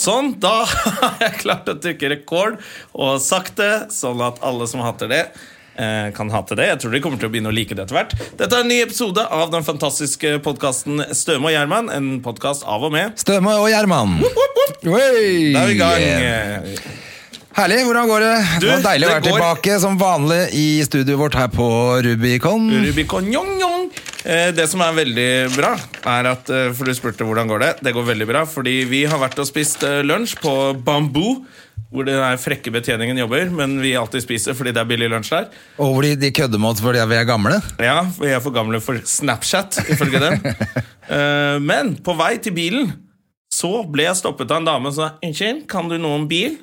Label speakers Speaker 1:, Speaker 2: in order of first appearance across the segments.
Speaker 1: Sånn, da har jeg klart å trykke rekord og sagt det, sånn at alle som hater det, eh, kan hate det. Jeg tror de kommer til å begynne å like det etter hvert. Dette er en ny episode av den fantastiske podkasten Støme og Gjerman. En podkast av og med.
Speaker 2: Støme og Gjerman. Oi!
Speaker 1: Da er vi i gang. Eh,
Speaker 2: Herlig. Hvordan går det?
Speaker 1: Du,
Speaker 2: det var deilig å
Speaker 1: det
Speaker 2: være
Speaker 1: går-
Speaker 2: tilbake som vanlig i studioet vårt her på Rubicon.
Speaker 1: Rubicon Njong Njong. Eh, Det som er veldig bra, er at eh, For du spurte hvordan går det. Det går veldig bra, fordi vi har vært og spist eh, lunsj på Bamboo. Hvor den her frekke betjeningen jobber, men vi alltid spiser fordi det er billig lunsj der.
Speaker 2: Og hvor de, de kødder med oss fordi vi er gamle.
Speaker 1: Ja, vi er for gamle for Snapchat, ifølge dem. Eh, Men på vei til bilen så ble jeg stoppet av en dame som sa 'Unnskyld, kan du noe om bil?'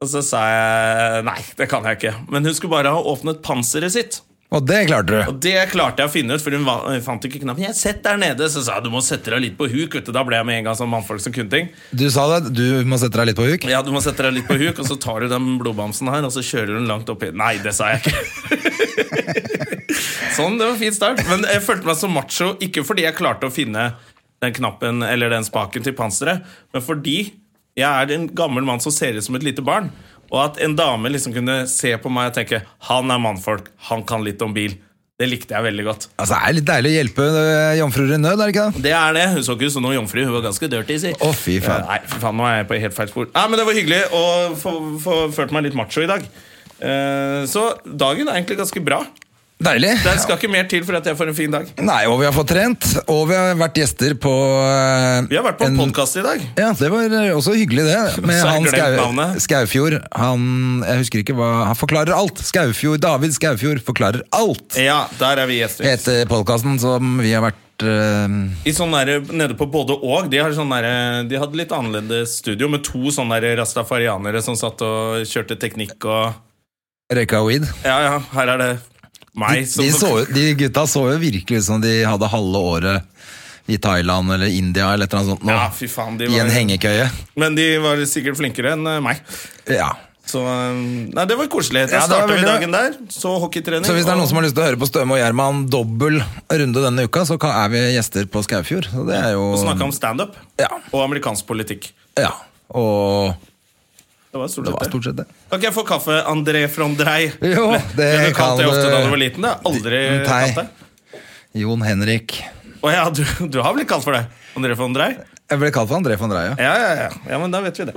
Speaker 1: Og så sa jeg 'Nei, det kan jeg ikke'. Men hun skulle bare ha åpnet panseret sitt.
Speaker 2: Og det klarte du.
Speaker 1: Og det klarte jeg å finne ut, for hun va- hun fant ikke knappen. Jeg sett der nede, så sa jeg du må sette deg litt på huk. Vet du. Da ble jeg med en gang som mannfolk som kunne ting.
Speaker 2: Du sa det. Du må sette deg litt på huk.
Speaker 1: Ja, du må sette deg litt på huk, og så tar du den blodbamsen her, og så kjører du den langt oppi. Nei, det sa jeg ikke. sånn, det var en fin start. Men jeg følte meg så macho, ikke fordi jeg klarte å finne den knappen eller den spaken til panseret, men fordi jeg er en gammel mann som ser ut som et lite barn. Og at en dame liksom kunne se på meg og tenke 'han er mannfolk, han kan litt om bil'. Det likte jeg veldig godt.
Speaker 2: Altså, Det er litt deilig å hjelpe øh, jomfruer i nød, er det ikke det?
Speaker 1: Det er det. Hun så ikke ut som noen jomfru. Hun var ganske dirty. Si.
Speaker 2: Å, fy faen.
Speaker 1: Nei, fy faen, nå er jeg på helt feil spor. Nei, men Det var hyggelig å få, få følt meg litt macho i dag. Eh, så dagen er egentlig ganske bra.
Speaker 2: Deilig.
Speaker 1: Det skal ikke mer til for at jeg får en fin dag.
Speaker 2: Nei, og vi har fått trent, og vi har vært gjester på øh,
Speaker 1: Vi har vært på en
Speaker 2: en-
Speaker 1: podkast i dag.
Speaker 2: Ja, det var eh, også hyggelig det Med
Speaker 1: Så har jeg
Speaker 2: han
Speaker 1: glemt
Speaker 2: Skau-
Speaker 1: navnet.
Speaker 2: Skaufjord Han, jeg husker ikke hva Han forklarer alt Skaufjord, David Skaufjord forklarer alt
Speaker 1: Ja, der er vi gjester.
Speaker 2: Etter podcasten som vi har vært eh,
Speaker 1: I sånn der, nede på både og. De, har sånn der, de hadde litt annerledes studio med to sånne der rastafarianere som satt og kjørte teknikk og
Speaker 2: Røyka weed
Speaker 1: Ja, ja, her er det meg som
Speaker 2: de, så, jo- de gutta så jo virkelig ut som de hadde halve året I Thailand eller India eller et eller annet sånt nå
Speaker 1: Ja, fy faen, de
Speaker 2: I en
Speaker 1: var,
Speaker 2: hengekøye
Speaker 1: Men de var sikkert flinkere enn eh, meg.
Speaker 2: Ja
Speaker 1: Så um, Nei, det var koselig. Da
Speaker 2: Ja, det var
Speaker 1: starta vi
Speaker 2: veldig bra.
Speaker 1: dagen der. Så hockeytrening.
Speaker 2: Så hvis det er
Speaker 1: og-
Speaker 2: noen som har lyst til å høre på Støme og Gjerman Dobbel runde denne uka Så kan, er vi gjester på Skaufjord Så det er jo
Speaker 1: og snakka om standup
Speaker 2: Ja.
Speaker 1: og amerikansk politikk.
Speaker 2: Ja Og
Speaker 1: Det var stort
Speaker 2: det
Speaker 1: sett
Speaker 2: var
Speaker 1: det.
Speaker 2: stort sett det
Speaker 1: Kan ikke jeg få kaffe, André Frondrei?
Speaker 2: Jo,
Speaker 1: Ble-
Speaker 2: det
Speaker 1: ble du
Speaker 2: kan
Speaker 1: kalt det ofte
Speaker 2: du-
Speaker 1: da du var liten? Det har jeg aldri
Speaker 2: Nei.
Speaker 1: kalt deg.
Speaker 2: Jon Henrik.
Speaker 1: Å ja, du, du har blitt kalt for det? André Frondrei?
Speaker 2: Jeg ble kalt for André von Dreia.
Speaker 1: Ja, ja, ja. ja, men da vet vi det.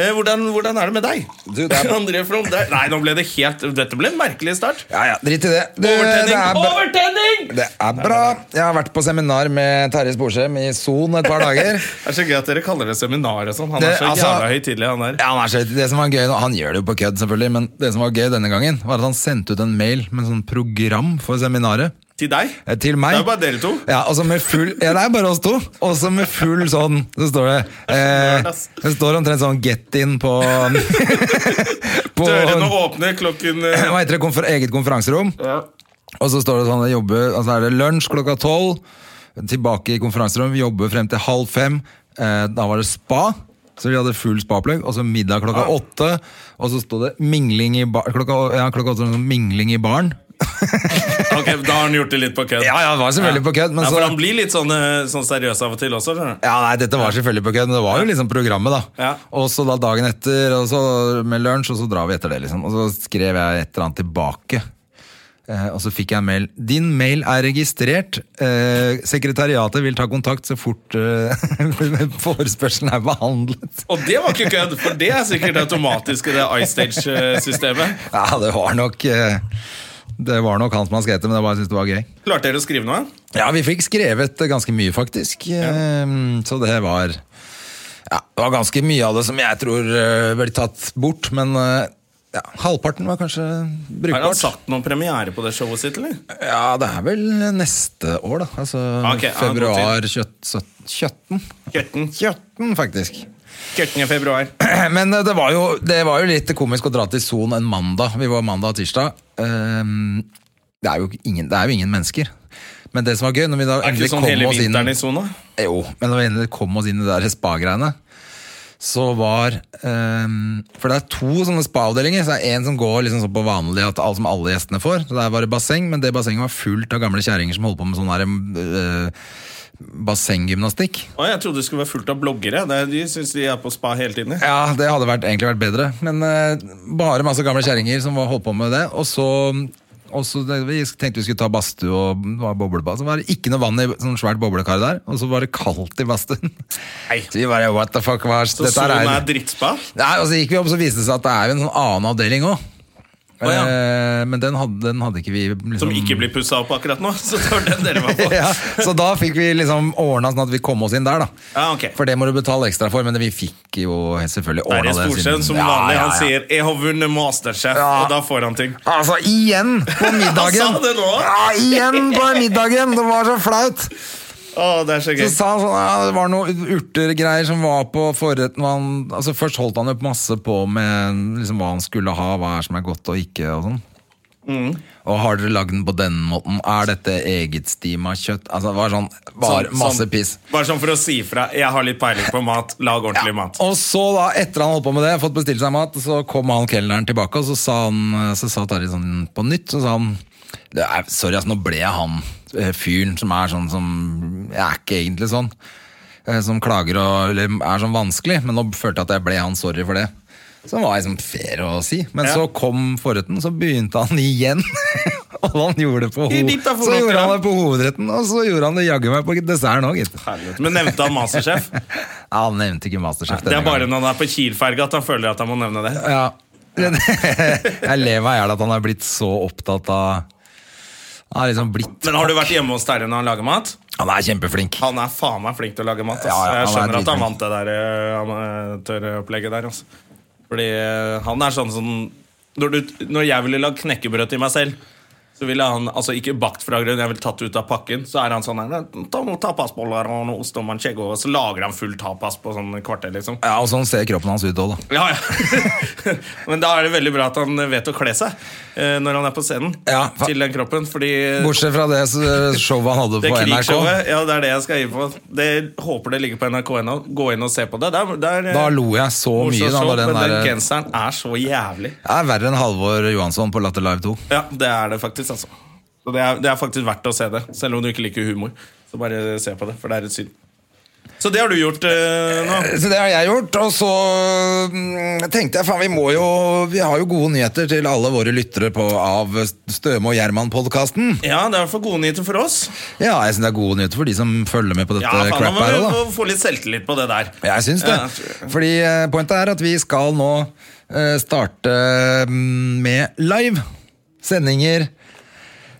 Speaker 1: Eh, hvordan, hvordan er det med deg?
Speaker 2: Du, det er-
Speaker 1: André Frondrei Nei, nå ble det helt Dette ble en merkelig start.
Speaker 2: Ja, ja, drit i det. Du, Eh, det,
Speaker 1: Overtenning!
Speaker 2: er bra.
Speaker 1: Overtenning!
Speaker 2: det er bra. Jeg har vært på seminar med Terje Sporsem i Son et par dager.
Speaker 1: Det er så gøy at dere kaller det seminar og sånn. Han er
Speaker 2: Det-
Speaker 1: så
Speaker 2: altså-
Speaker 1: jævla høytidelig, han der.
Speaker 2: Ja, han, er så, det som var gøy, nå- han gjør det jo på kødd, selvfølgelig, men det som var gøy denne gangen, var at han sendte ut en mail med en sånn program for seminaret.
Speaker 1: Til deg?
Speaker 2: eh, Til meg.
Speaker 1: Det er jo bare dere to.
Speaker 2: Ja, og så med full Ja, det er bare oss to. Og så med full sånn Så står det eh,
Speaker 1: nerd, ass.
Speaker 2: Det står omtrent sånn 'get in' på, på
Speaker 1: Dørene åpner klokken eh,
Speaker 2: Hva heter det? Konfer eget konferanserom.
Speaker 1: ja.
Speaker 2: Og så står det sånn, jobbe, altså er det lunsj klokka tolv, tilbake i konferanserom, jobbe frem til halv fem. Eh, da var det spa, så vi hadde full spaplugg, og så middag klokka
Speaker 1: Ah.
Speaker 2: åtte. Og så stod det mingling i bar, klokka, ja, klokka åtte, var det sånn mingling i baren.
Speaker 1: Ok, Da har han gjort det litt på kødd.
Speaker 2: Ja, ja, det var selvfølgelig på kødd, men
Speaker 1: Ja,
Speaker 2: så...
Speaker 1: for han blir litt sånn, eh, sånn seriøs av og til også. skjønner du?
Speaker 2: Ja, nei, dette var selvfølgelig på kødd, men det var jo liksom programmet, da.
Speaker 1: Ja.
Speaker 2: Og så da dagen etter, og så med lunsj, og så drar vi etter det, liksom. Og så skrev jeg et eller annet tilbake. Eh, og så fikk jeg en mail. Din mail er registrert. Eh, sekretariatet vil ta kontakt så fort eh, forespørselen er behandlet.
Speaker 1: Og det var ikke kødd, for det er sikkert automatisk i det iStage-systemet.
Speaker 2: Ja, det var nok eh, Det var nok han som har skrevet det, men jeg bare syntes det var gøy.
Speaker 1: Klarte dere å skrive noe?
Speaker 2: Ja, vi fikk skrevet ganske mye, faktisk. Ehm, Så det var ja, Det var ganske mye av det som jeg tror eh, ble tatt bort, men eh, ja, halvparten var kanskje
Speaker 1: Har han
Speaker 2: brukbart.
Speaker 1: satt noen premiere på det showet sitt, eller?
Speaker 2: Ja, det er vel neste år, da. Altså
Speaker 1: Ok, ja,
Speaker 2: februar kjøtt, søtt- kjøtten.
Speaker 1: Kjøtten.
Speaker 2: Kjøtten, faktisk.
Speaker 1: Kjøtten i februar.
Speaker 2: Men eh, det var, jo, det var jo litt komisk å dra til Son en mandag. Vi var mandag og tirsdag. Ehm, Det er jo ingen, det er jo ingen mennesker. Men det som var gøy når vi da
Speaker 1: Er
Speaker 2: endelig
Speaker 1: ikke sånn
Speaker 2: kom
Speaker 1: hele
Speaker 2: oss inn
Speaker 1: vinteren i sona?
Speaker 2: Jo, men når vi endelig kom oss inn i det der spa-greiene, så var ehm, For det er to sånne spa-avdelinger. Så det er en som går liksom sånn på vanlig at alt som alle gjestene får. Så der var det basseng, men det bassenget var fullt av gamle kjerringer som holdt på med sånn der, eh, Bassenggymnastikk.
Speaker 1: Å, jeg trodde det skulle være fullt av bloggere. Det, de syns de er på spa hele tiden. jeg.
Speaker 2: Ja, det hadde vært, egentlig vært bedre. Men eh, bare masse gamle kjerringer som var- holdt på med det. Og så, og så det, vi tenkte vi skulle ta badstue og det var boblebad. Så var det ikke noe vann i sånn svært boblekar der. Og så var det kaldt i badstuen.
Speaker 1: Nei.
Speaker 2: Så vi bare, what the fuck, hva er
Speaker 1: Så
Speaker 2: dette her
Speaker 1: Son er
Speaker 2: er?
Speaker 1: drittspa.
Speaker 2: Nei, og så gikk vi opp, så viste det seg at det er jo en sånn annen avdeling òg.
Speaker 1: Å, ja.
Speaker 2: Men den hadde, den hadde ikke vi liksom,
Speaker 1: Som ikke blir pussa opp akkurat nå. Så det var den dere var på.
Speaker 2: ja, Så da fikk vi liksom ordna sånn at vi kom oss inn der, da.
Speaker 1: Ja, ok.
Speaker 2: For det må du betale ekstra for, men vi fikk jo selvfølgelig
Speaker 1: Det er i
Speaker 2: ordna det. siden-
Speaker 1: Storsjøen som
Speaker 2: Ja,
Speaker 1: vanlig.
Speaker 2: ja,
Speaker 1: Han
Speaker 2: ja.
Speaker 1: sier 'jeg har vunnet Masterchef',
Speaker 2: Ja.
Speaker 1: og da får han ting.
Speaker 2: Altså, igjen på middagen!
Speaker 1: Han sa det nå.
Speaker 2: Ja, igjen på middagen! Det var så flaut!
Speaker 1: Å, det er så gøy.
Speaker 2: Så sa han sånn, ja, det var noen urtergreier som var på forretten. og Han, altså først holdt han opp masse på med liksom, hva han skulle ha, hva er som er godt og ikke. og sånn.
Speaker 1: Mm.
Speaker 2: Og har dere lagd den på den måten? Er dette egetstima kjøtt? Altså, det var sånn, bare
Speaker 1: Sånn-
Speaker 2: masse
Speaker 1: sånn-
Speaker 2: piss.
Speaker 1: Bare sånn for å si ifra. Jeg har litt peiling på mat. Lag ordentlig mat.
Speaker 2: Og så da, etter han holdt på med det, fått bestilt seg mat, så kom han kelneren tilbake, og så sa han, så sa Tarjei sånn på nytt, så sa han, det er, sorry, ass, nå ble jeg han eh, fyren som er sånn som, jeg er ikke egentlig sånn, eh, som klager og eller er sånn vanskelig, men nå følte jeg at jeg ble han sorry for det. Som var liksom fair å si. Men
Speaker 1: Ja.
Speaker 2: så kom forretten, så begynte han igjen. og han gjorde det på, ho
Speaker 1: I ditt da, for
Speaker 2: så
Speaker 1: noe,
Speaker 2: gjorde
Speaker 1: ja.
Speaker 2: han det på hovedretten, og så gjorde han det jaggu meg på desserten òg, gitt.
Speaker 1: Helvete. Men nevnte han Masterchef?
Speaker 2: Ja, han nevnte ikke Masterchef.
Speaker 1: Det
Speaker 2: denne
Speaker 1: er bare
Speaker 2: gangen.
Speaker 1: når han er på Kiel-ferga at han føler at han må nevne det.
Speaker 2: Ja. jeg ler meg i hjel at han har blitt så opptatt av Han har liksom blitt
Speaker 1: Men har du vært hjemme hos Terje når han lager mat?
Speaker 2: Han er kjempeflink.
Speaker 1: Han er faen meg flink til å lage mat. Ass.
Speaker 2: Ja, ja, han
Speaker 1: jeg
Speaker 2: er
Speaker 1: skjønner at han
Speaker 2: dritflink.
Speaker 1: vant det der eh, amatøropplegget der. Ass. Fordi eh, han er sånn som når, du, når jeg ville lage knekkebrød til meg selv, så ville han altså ikke bakt fra grunn, jeg ville tatt det ut av pakken. Så er han sånn her Ta noen tapasboller og noe ost og manchego, og så lager han full tapas på sånn kvarter, liksom.
Speaker 2: Ja, og Sånn ser kroppen hans ut òg, da.
Speaker 1: Ja, ja. Men da er det veldig bra at han vet å kle seg eh, når han er på scenen.
Speaker 2: Ja, fa-
Speaker 1: til den kroppen, fordi
Speaker 2: Bortsett fra det s- showet han hadde
Speaker 1: det eh.
Speaker 2: på NRK.
Speaker 1: krigsshowet, ja, det er det jeg skal inn på. Det, håper det ligger på NRK.no. Gå inn og se på det. Det er, det er, eh,
Speaker 2: Da lo jeg så
Speaker 1: morsomt
Speaker 2: mye. Da,
Speaker 1: show,
Speaker 2: da den
Speaker 1: men den
Speaker 2: der, eh,
Speaker 1: genseren er så jævlig.
Speaker 2: jeg er verre enn Halvor Johansson på Latter Live 2.
Speaker 1: Ja, det er det faktisk, altså. Så det, er, det er faktisk verdt å se det, selv om du ikke liker humor. Så bare se på det, for det er et syn. Så det har du gjort eh, nå.
Speaker 2: Så det har jeg gjort, og så mm, tenkte jeg faen, vi må jo Vi har jo gode nyheter til alle våre lyttere på, av Støme og Gjerman-podkasten.
Speaker 1: Ja, det er i hvert fall gode nyheter for oss.
Speaker 2: Ja, jeg syns det er gode nyheter for de som følger med på dette
Speaker 1: Ja, faen, Nå
Speaker 2: crap
Speaker 1: må
Speaker 2: her
Speaker 1: vi
Speaker 2: òg, da.
Speaker 1: få- få litt selvtillit på det der.
Speaker 2: Jeg syns det.
Speaker 1: Ja, jeg tror
Speaker 2: Fordi eh, pointet er at vi skal nå eh, starte mm, med live sendinger.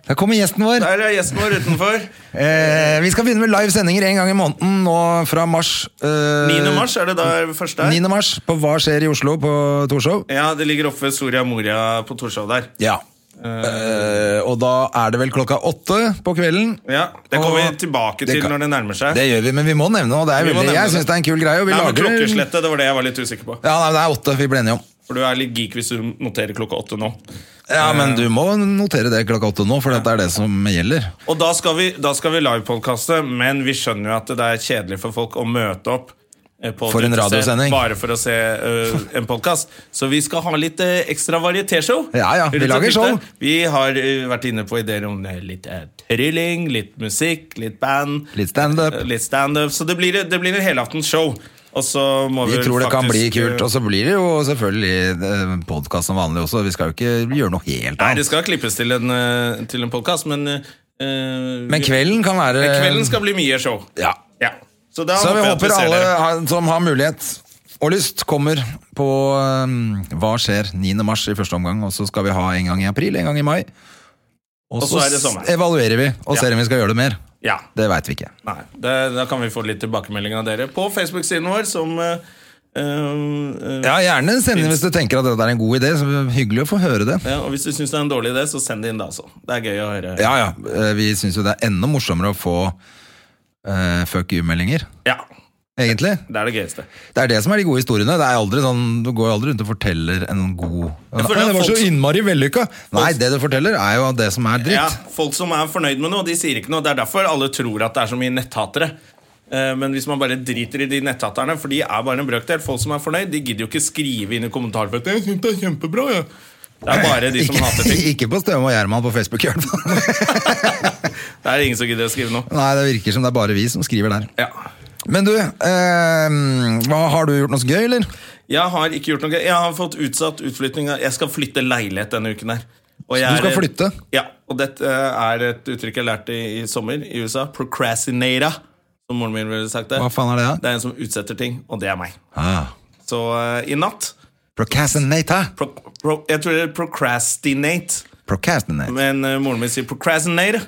Speaker 2: Der kommer gjesten vår.
Speaker 1: Der er gjesten vår utenfor.
Speaker 2: Eh, vi skal begynne med live sendinger en gang i måneden nå fra mars. eh,
Speaker 1: 9. mars er det da første her.
Speaker 2: 9. mars på Hva skjer i Oslo på Torshov.
Speaker 1: Ja, det ligger oppe ved Soria Moria på Torshov der.
Speaker 2: Ja. Eh, og da er det vel klokka åtte på kvelden.
Speaker 1: Ja, Det kommer
Speaker 2: Og
Speaker 1: vi tilbake
Speaker 2: det
Speaker 1: til
Speaker 2: kan-
Speaker 1: når det nærmer seg.
Speaker 2: Det gjør vi, men vi må nevne og det. Er
Speaker 1: Vi må
Speaker 2: veldig,
Speaker 1: nevne
Speaker 2: jeg
Speaker 1: det.
Speaker 2: syns det er en kul greie. Og vi
Speaker 1: Nei, men
Speaker 2: lager
Speaker 1: Klokkeslettet, det var det jeg var litt usikker på.
Speaker 2: Ja, nei, det er åtte vi ble enige om.
Speaker 1: For du er litt geek hvis du noterer klokka åtte nå.
Speaker 2: Ja,
Speaker 1: Eh,
Speaker 2: men du må notere det klokka åtte nå, for dette er det som gjelder.
Speaker 1: Og da skal vi, da skal vi livepodkaste, men vi skjønner jo at det er kjedelig for folk å møte opp. eh, på
Speaker 2: For en
Speaker 1: 30 cent,
Speaker 2: radiosending.
Speaker 1: Bare for å se eh, en podkast. Så vi skal ha litt eh, ekstra varietéshow.
Speaker 2: Ja, ja, vi
Speaker 1: Rundt
Speaker 2: lager
Speaker 1: omkring
Speaker 2: show.
Speaker 1: der. Vi har eh, vært inne på ideer om eh, litt eh, trylling, litt musikk, litt band.
Speaker 2: Litt standup.
Speaker 1: eh, Litt standup. Så det blir, det blir en helaftens show. Og så må
Speaker 2: Vi
Speaker 1: vel
Speaker 2: tror det kan bli
Speaker 1: faktisk,
Speaker 2: kult,
Speaker 1: eh,
Speaker 2: og så blir det jo selvfølgelig podkast som vanlig også. Vi skal jo ikke gjøre noe helt
Speaker 1: Nei, det
Speaker 2: annet.
Speaker 1: skal klippes til en, eh, til en podkast, men eh,
Speaker 2: Men kvelden kan være
Speaker 1: Men kvelden skal bli mye show.
Speaker 2: Ja.
Speaker 1: Ja. Så, da
Speaker 2: Så vi
Speaker 1: jeg at
Speaker 2: håper
Speaker 1: ser
Speaker 2: alle
Speaker 1: dere.
Speaker 2: har- som har mulighet og lyst, kommer på um, Hva skjer 9. mars i første omgang, og så skal vi ha en gang i april, en gang i mai. Og
Speaker 1: Og
Speaker 2: så
Speaker 1: så er det
Speaker 2: s-
Speaker 1: sommer.
Speaker 2: evaluerer vi og
Speaker 1: Ja.
Speaker 2: ser om vi skal gjøre det mer.
Speaker 1: Ja.
Speaker 2: Det veit vi ikke.
Speaker 1: Nei, det, da kan vi få litt tilbakemelding av dere på Facebook-siden vår, som eh, eh,
Speaker 2: Ja, Gjerne send inn hvis du tenker at dette er en god idé. Så det er Hyggelig å få høre det.
Speaker 1: ja, Og hvis du syns det er en dårlig idé, så send det inn da, altså. Det er gøy å høre.
Speaker 2: Ja, ja. eh, Vi syns jo det er enda morsommere å få eh, fuck you-meldinger,
Speaker 1: Ja,
Speaker 2: egentlig.
Speaker 1: Det er det gøyeste.
Speaker 2: Det er det som er de gode historiene. Det er aldri sånn, Du går jo aldri rundt og forteller en god
Speaker 1: Jeg føler
Speaker 2: Nei,
Speaker 1: at
Speaker 2: Det var så
Speaker 1: folk-
Speaker 2: innmari vellykka! Nei, det du forteller, er jo det som er dritt.
Speaker 1: Ja, folk som er fornøyd med noe, de sier ikke noe. Det er derfor alle tror at det er så mye netthatere. Eh, Men hvis man bare driter i de netthaterne, for de er bare en brøkdel Folk som er fornøyd, de gidder jo ikke skrive inn i kommentarfeltet 'Jeg synes det er kjempebra', jeg. Det er bare de som hater
Speaker 2: Ikke,
Speaker 1: ting.
Speaker 2: ikke på Støme og Gjerman på Facebook, i hvert fall.
Speaker 1: Det er ingen som gidder å skrive noe.
Speaker 2: Nei, det virker som det er bare vi som skriver der.
Speaker 1: Ja.
Speaker 2: Men du, eh, hva har du gjort noe så gøy, eller?
Speaker 1: Jeg har ikke gjort noe gøy. Jeg har fått utsatt utflytting. Jeg skal flytte leilighet denne uken her. Og jeg
Speaker 2: Du skal
Speaker 1: er-
Speaker 2: flytte?
Speaker 1: Ja, og dette eh, er et uttrykk jeg lærte i, i sommer i USA. Procrastinata, som moren min ville sagt det.
Speaker 2: Hva faen er det, da?
Speaker 1: Det er en som utsetter ting, og det er meg.
Speaker 2: Ah.
Speaker 1: Så eh, i natt
Speaker 2: Procrastinate.
Speaker 1: pro, pro, Jeg tror det er procrastinate,
Speaker 2: Procrastinate.
Speaker 1: men eh, moren min sier procrastinate.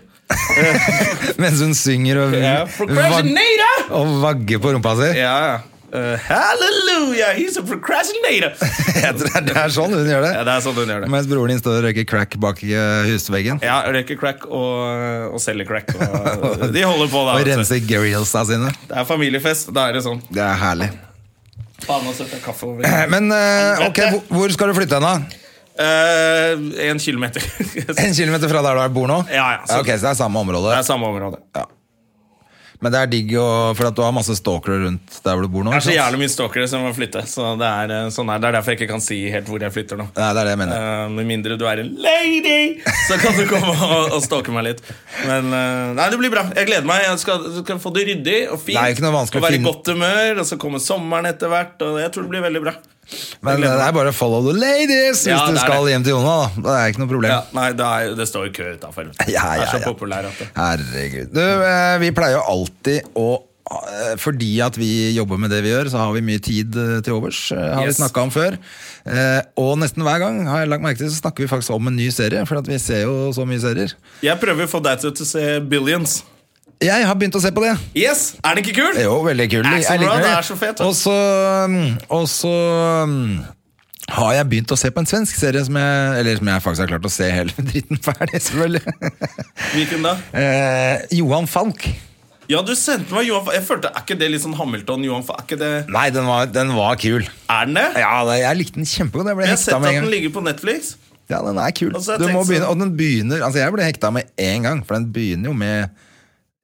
Speaker 2: Mens hun synger og,
Speaker 1: Ja,
Speaker 2: vag
Speaker 1: procrastinate!
Speaker 2: og vagger på rumpa si.
Speaker 1: Ja, ja. Eh, hallelujah, he's a procrastinator!
Speaker 2: Jeg tror det er sånn hun gjør det.
Speaker 1: Ja, det er sånn hun gjør det.
Speaker 2: Mens broren din står og røyker crack bak eh, husveggen.
Speaker 1: Ja, røyker crack og, og selger crack. Og, de holder på, da.
Speaker 2: Og
Speaker 1: vet du.
Speaker 2: renser Gary-hillsa sine.
Speaker 1: Det er familiefest. Da er det sånn.
Speaker 2: Det er herlig.
Speaker 1: Faen, nå setter jeg kaffe over.
Speaker 2: Eh, Men eh, ok, hvor- hvor skal du flytte hen, da?
Speaker 1: Eh, en kilometer. det
Speaker 2: En kilometer fra der du bor nå?
Speaker 1: Ja, ja, så-
Speaker 2: ok, Så det er samme område.
Speaker 1: er samme område.
Speaker 2: Men det er digg å, for at du har masse stalkere rundt der hvor du bor nå.
Speaker 1: Det er så
Speaker 2: ikke sant?
Speaker 1: jævlig mye stalkere som må flytte. Så det er, eh, sånn her. det er derfor jeg ikke kan si helt hvor jeg flytter nå.
Speaker 2: Nei, det er det jeg mener.
Speaker 1: Eh, med mindre du er en lady, så kan du komme og, og stalke meg litt. Men eh, nei, det blir bra. Jeg gleder meg. Jeg skal, skal få det ryddig og fint.
Speaker 2: Det er jo ikke noe vanskelig
Speaker 1: og være
Speaker 2: å
Speaker 1: i
Speaker 2: finne-
Speaker 1: godt humør, og så kommer sommeren etter hvert. Og jeg tror det blir veldig bra.
Speaker 2: Men eh, det er bare follow the ladies hvis
Speaker 1: Ja,
Speaker 2: du
Speaker 1: det er
Speaker 2: skal
Speaker 1: det.
Speaker 2: hjem til Jona. da. Det er ikke noe problem.
Speaker 1: Ja, nei, det, er, det står jo kø utafor.
Speaker 2: Ja,
Speaker 1: Det
Speaker 2: ja,
Speaker 1: er så
Speaker 2: ja.
Speaker 1: populær at det
Speaker 2: Herregud. Du, eh, vi pleier jo alltid å eh, fordi at vi jobber med det vi gjør, så har vi mye tid eh, til overs. eh, har
Speaker 1: Yes.
Speaker 2: vi snakket om før. Eh, Og nesten hver gang har jeg lagt merke til, så snakker vi faktisk om en ny serie. For at vi ser jo så mye serier.
Speaker 1: Jeg prøver å få deg til å se Billions.
Speaker 2: Jeg har begynt å se på det.
Speaker 1: Yes! Er den ikke kul?
Speaker 2: Det er jo veldig kul.
Speaker 1: Det er så
Speaker 2: Jeg liker
Speaker 1: bra, det
Speaker 2: det.
Speaker 1: er så fett, da.
Speaker 2: Og så, mm, og så mm, har jeg begynt å se på en svensk serie som jeg, eller som jeg faktisk har klart å se hele dritten ferdig, selvfølgelig.
Speaker 1: Hvilken da?
Speaker 2: Eh, Johan Falk.
Speaker 1: Ja, du sendte meg Johan Fa- Jeg følte, Er ikke det litt sånn Hamilton? Johan Fa- er, ikke det,
Speaker 2: Nei, den var, den var kul.
Speaker 1: er den det?
Speaker 2: Ja, det, jeg likte den kjempegodt. Jeg ble
Speaker 1: Jeg har sett
Speaker 2: hekta
Speaker 1: at
Speaker 2: med en
Speaker 1: den
Speaker 2: gang.
Speaker 1: ligger på Netflix.
Speaker 2: Ja, den er kul.
Speaker 1: Altså, jeg
Speaker 2: du må
Speaker 1: tenkte
Speaker 2: begynne,
Speaker 1: sånn-
Speaker 2: og den begynner Altså, jeg ble hekta med en gang, for den begynner jo med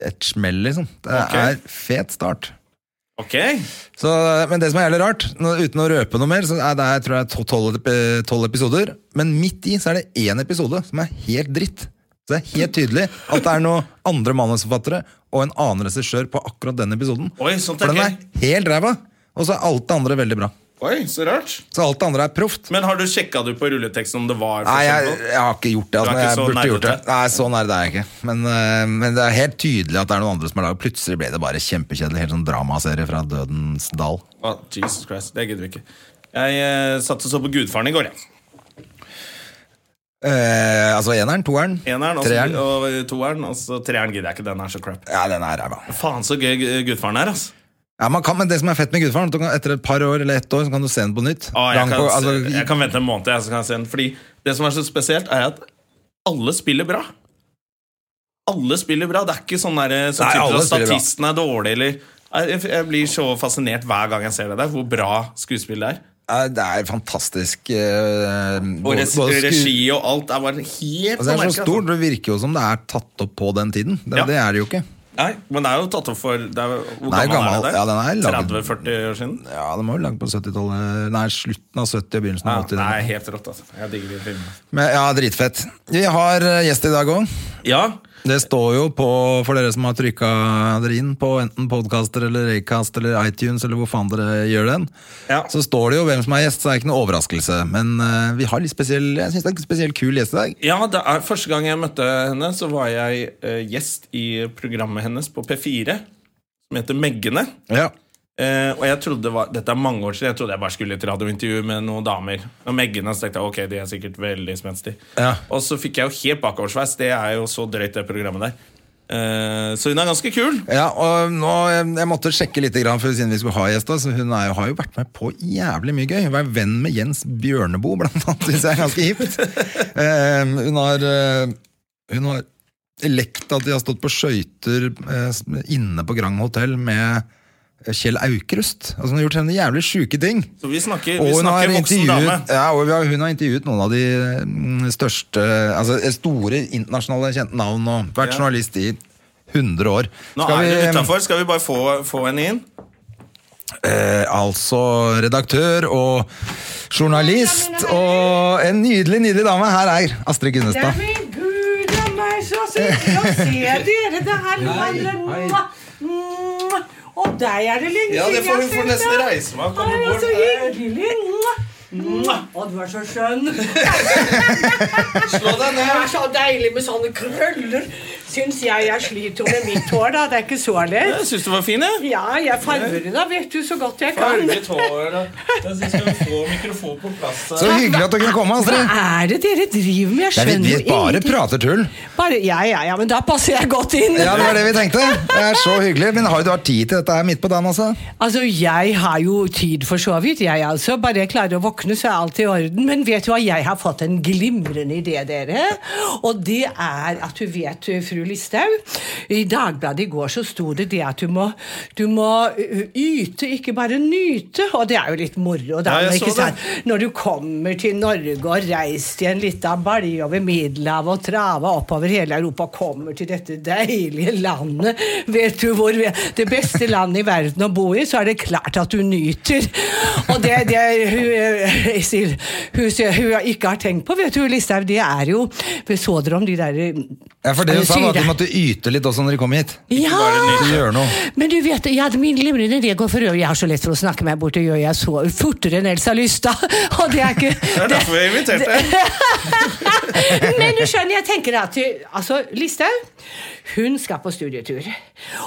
Speaker 2: et smell, liksom. Det
Speaker 1: Ok.
Speaker 2: er fet start.
Speaker 1: Ok,
Speaker 2: Så, men det som er jævlig rart, nå- uten å røpe noe mer, så er det jeg tror jeg to- tolv ep- tolv episoder. Men midt i så er det én episode som er helt dritt. Så det er helt tydelig at det er noen andre manusforfattere og en annen regissør på akkurat den episoden.
Speaker 1: Oi, sånn sånt er
Speaker 2: For den er helt ræva, og så er alt det andre veldig bra.
Speaker 1: Oi, så rart.
Speaker 2: Så alt det andre er proft.
Speaker 1: Men har du sjekka du på rulleteksten om det var
Speaker 2: Nei, jeg,
Speaker 1: forskjell på?
Speaker 2: jeg har ikke gjort
Speaker 1: Du
Speaker 2: det. Altså,
Speaker 1: er
Speaker 2: men
Speaker 1: ikke
Speaker 2: jeg
Speaker 1: så
Speaker 2: burde gjort det.
Speaker 1: nerdete?
Speaker 2: Nei, så nerd er jeg ikke. Men, øh, men det er helt tydelig at det er noen andre som har laget Plutselig ble det bare kjempekjedelig. Helt sånn dramaserie fra Dødens dal.
Speaker 1: Å, Jesus Christ, det gidder vi ikke. Jeg eh, satt og så på Gudfaren i går, jeg.
Speaker 2: Eh, altså eneren, toeren,
Speaker 1: Eneren altså, og så-
Speaker 2: treeren.
Speaker 1: og toeren. Og så treeren gidder jeg ikke. Den er så crap.
Speaker 2: Ja, den er ræva.
Speaker 1: Faen så gøy eh, Gudfaren er, altså.
Speaker 2: Ja, man kan, men det som er fett med Gudfaren, er at du kan- etter et par år eller ett år så kan du se den på nytt.
Speaker 1: Å, Ah, jeg,
Speaker 2: Gang
Speaker 1: kan,
Speaker 2: på, altså,
Speaker 1: jeg kan vente en måned, jeg, så kan jeg se den. Fordi det som er så spesielt, er at alle spiller bra. Alle spiller bra. Det er ikke sånn der, sånn
Speaker 2: Nei,
Speaker 1: type
Speaker 2: alle
Speaker 1: at
Speaker 2: spiller bra.
Speaker 1: statisten er dårlig, eller Nei, jeg, jeg blir så fascinert hver gang jeg ser det der, hvor bra skuespill det er.
Speaker 2: ja, det er fantastisk. eh,
Speaker 1: Og
Speaker 2: både-
Speaker 1: res,
Speaker 2: både sku-
Speaker 1: regi og alt er bare helt merket,
Speaker 2: Altså, det er så
Speaker 1: altså.
Speaker 2: stort, det virker jo som det er tatt opp på den tiden. Det,
Speaker 1: Ja.
Speaker 2: det er det jo ikke.
Speaker 1: Nei, men det er jo tatt opp for det er, jo- Hvor
Speaker 2: Nei,
Speaker 1: gammel,
Speaker 2: gammel-
Speaker 1: er det?
Speaker 2: ja, den er laget-
Speaker 1: 30-40 år siden?
Speaker 2: Ja, den var jo lagd på 70-tallet Nei, slutten av 70 og begynnelsen
Speaker 1: Ja,
Speaker 2: av 80.
Speaker 1: det
Speaker 2: den.
Speaker 1: er helt rått, altså. Jeg digger de filmene.
Speaker 2: Men, ja, dritfett. Vi har eh, gjest i dag òg.
Speaker 1: Ja,
Speaker 2: Det står jo på, for dere som har trykka dere inn på enten podkaster eller Raycast eller iTunes eller hvor faen dere gjør den,
Speaker 1: Ja.
Speaker 2: så står det jo hvem som er gjest, så det er ikke noe overraskelse. Men eh, vi har litt spesiell, jeg syns det er en spesiell kul gjest i dag.
Speaker 1: Ja, det er, første gang jeg møtte henne, så var jeg eh, gjest i programmet hennes på P4, som heter Meggene.
Speaker 2: Ja.
Speaker 1: Eh, og jeg trodde det var, Dette er mange år siden, jeg trodde jeg bare skulle i et radiointervju med noen damer. Og Meggene, så tenkte jeg ok, de er sikkert veldig spenstige.
Speaker 2: Ja.
Speaker 1: Og så fikk jeg jo helt bakoversveis. Det er jo så drøyt, det programmet der. Eh, så hun er ganske kul.
Speaker 2: Ja, og nå, eh, Jeg måtte sjekke litt grann for siden vi skulle ha gjest. da, så Hun er jo, har jo vært med på jævlig mye gøy. Hun er venn med Jens Bjørneboe, blant annet. Syns jeg er ganske hipt. Eh, hun har eh, Hun har lekt at de har stått på skøyter eh, inne på Grand Hotell med Kjell Aukrust. Altså, hun har gjort henne jævlig sjuke ting.
Speaker 1: Så vi snakker,
Speaker 2: Og
Speaker 1: vi
Speaker 2: hun har,
Speaker 1: snakker voksen dame.
Speaker 2: intervjuet, ja, og vi har- hun har intervjuet noen av de mm, største, altså store internasjonale kjente navn, og vært
Speaker 1: Ja.
Speaker 2: journalist i 100 år.
Speaker 1: Nå er
Speaker 2: Skal vi-
Speaker 1: vi utafor. Skal vi bare få, få henne inn?
Speaker 2: Eh, altså redaktør og
Speaker 3: eh,
Speaker 2: journalist og en nydelig, nydelig dame. Her er Astrid Gunnestad.
Speaker 3: Neimen, gud a meg, så hyggelig å se dere. Det her
Speaker 2: Hei,
Speaker 3: handler
Speaker 2: hei.
Speaker 3: om Og deg er det lenge
Speaker 1: Ja, det får
Speaker 3: siden jeg
Speaker 1: får
Speaker 3: har
Speaker 1: nesten
Speaker 3: sett deg.
Speaker 1: reise meg opp
Speaker 3: Hei,
Speaker 1: og
Speaker 3: så
Speaker 1: gå bort.
Speaker 3: hyggelig. Å, du er så skjønn.
Speaker 1: Slå deg
Speaker 3: Det er
Speaker 1: ned.
Speaker 3: så deilig med sånne krøller. Syns jeg jeg sliter med mitt hår, da. Det er ikke så lett.
Speaker 1: Jeg syns du var fin, jeg.
Speaker 3: Ja, jeg farger det da, vet du, så godt jeg kan.
Speaker 1: Farget hår og Jeg syns vi få mikrofonen på plass. her.
Speaker 2: Så hyggelig at du kunne komme,
Speaker 3: Hva
Speaker 2: Astrid.
Speaker 3: er det dere driver med?
Speaker 2: Ja,
Speaker 3: Jeg
Speaker 2: vi,
Speaker 3: skjønner
Speaker 2: vi
Speaker 3: jo
Speaker 2: bare
Speaker 3: ingenting.
Speaker 2: prater tull.
Speaker 3: Bare, ja, ja, ja, men da passer jeg godt inn.
Speaker 2: Ja, det var det vi tenkte. Det er så hyggelig. Men har du hatt tid til dette her midt på dagen, altså?
Speaker 3: Altså, jeg har jo tid for så vidt, jeg altså. Bare jeg klarer å våkne, så er alt i orden. Men vet du hva, jeg har fått en glimrende idé, dere. Og det er at du vet, fru Listhaug, i Dagbladet i går så sto det det at du må, du må ø, yte, ikke bare nyte. Og det er jo litt moro, da.
Speaker 1: Ja, jeg
Speaker 3: ikke
Speaker 1: så det.
Speaker 3: sant? Når du kommer til Norge og reist i en lita balje over Middelhavet og trava oppover hele Europa og kommer til dette deilige landet Vet du hvor vi er? Det beste landet i verden å bo i, så er det klart at du nyter. Og det, det hun, eh, sier- hun, sier- hun ikke har tenkt på, vet du, Listhaug, det er jo Så dere om de der eh,
Speaker 2: Ja, for det hun sa var at
Speaker 3: syre-
Speaker 2: du måtte yte litt også når du kom hit.
Speaker 1: bare
Speaker 3: ja!
Speaker 1: nyte.
Speaker 2: Du gjør noe.
Speaker 3: Men du vet, jeg hadde min glimrende idé går for øvrig. Jeg har så lett for å snakke meg bort, det gjør jeg så fortere enn Elsa Lystad. Og det er ikke
Speaker 1: Det er derfor vi har invitert deg.
Speaker 3: Men du skjønner, jeg tenker at du- altså, Listhaug hun skal på studietur.